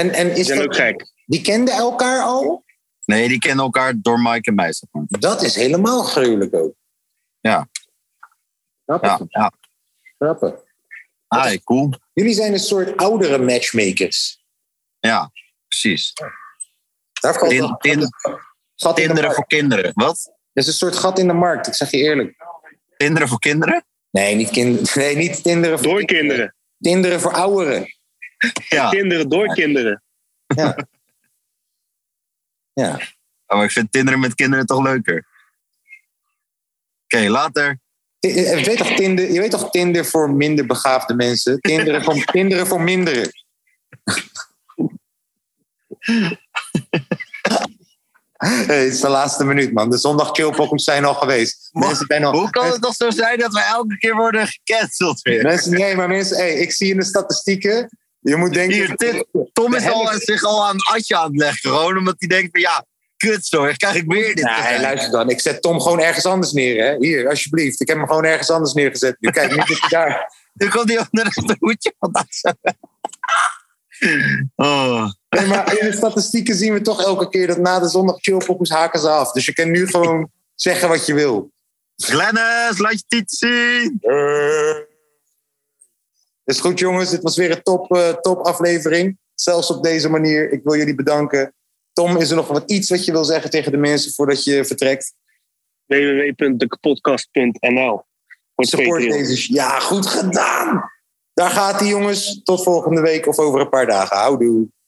Speaker 1: En, en is dat...
Speaker 4: [laughs]
Speaker 1: Die kenden elkaar al?
Speaker 2: Nee, die kennen elkaar door Mike en mij, zeg maar.
Speaker 1: Dat is helemaal gruwelijk ook.
Speaker 2: Ja.
Speaker 1: Grappig.
Speaker 2: Ja, ja.
Speaker 1: Grappig.
Speaker 2: Ah, cool.
Speaker 1: Jullie zijn een soort oudere matchmakers.
Speaker 2: Ja, precies.
Speaker 1: Daar valt
Speaker 2: Tin-
Speaker 1: wel-
Speaker 2: tin-
Speaker 1: gat in de
Speaker 2: Kinderen
Speaker 1: markt.
Speaker 2: voor kinderen. Wat?
Speaker 1: Dat is een soort gat in de markt, ik zeg je eerlijk.
Speaker 2: Kinderen voor kinderen?
Speaker 1: Nee, niet, kind, [laughs] nee, niet kinderen voor
Speaker 4: Door kinderen.
Speaker 1: Kinderen voor ouderen.
Speaker 2: Ja.
Speaker 4: Kinderen door kinderen.
Speaker 1: Ja. ja.
Speaker 2: Oh, maar ik vind kinderen met kinderen toch leuker. Oké, later.
Speaker 1: Ti- eh, Je weet, toch Tinder, je weet toch Tinder voor minder begaafde mensen? Kinderen voor, kinderen voor minderen. Hey, het is de laatste minuut, man. De zondag chillpokkums zijn al geweest. Mensen zijn al,
Speaker 2: Hoe kan het toch zo zijn dat we elke keer worden gecanceld weer?
Speaker 1: Mensen, nee, maar mensen, hey, ik zie in de statistieken. Je moet denken.
Speaker 2: Hier, dit, Tom is
Speaker 1: De
Speaker 2: al,
Speaker 1: helft-
Speaker 2: zich al aan het atje aan het leggen. Gewoon omdat hij denkt van ja, kut zo, dan krijg ik weer dit.
Speaker 1: Nee,
Speaker 2: te zeggen.
Speaker 1: luister dan. Ik zet Tom gewoon ergens anders neer. Hè? Hier, alsjeblieft. Ik heb hem gewoon ergens anders neergezet. Nu kijk, nu zit hij daar.
Speaker 2: Nu komt hij onder het hoedje vandaan.
Speaker 1: [laughs]
Speaker 2: Oh.
Speaker 1: Nee, maar in de statistieken zien we toch elke keer dat na de zondag chillpokkums haken ze af. Dus je kan nu gewoon zeggen wat je wil.
Speaker 2: Glennis, laat je tiet zien.
Speaker 1: Is goed, jongens. Dit was weer een top, eh, top aflevering. Zelfs op deze manier. Ik wil jullie bedanken. Tom, is er nog wat iets wat je wil zeggen tegen de mensen voordat je vertrekt?
Speaker 4: www.dekpodcast.nl Voor
Speaker 1: Support
Speaker 4: Patreon.
Speaker 1: deze. Ja, goed gedaan. Daar gaat hij, jongens. Tot volgende week of over een paar dagen. Houdoe.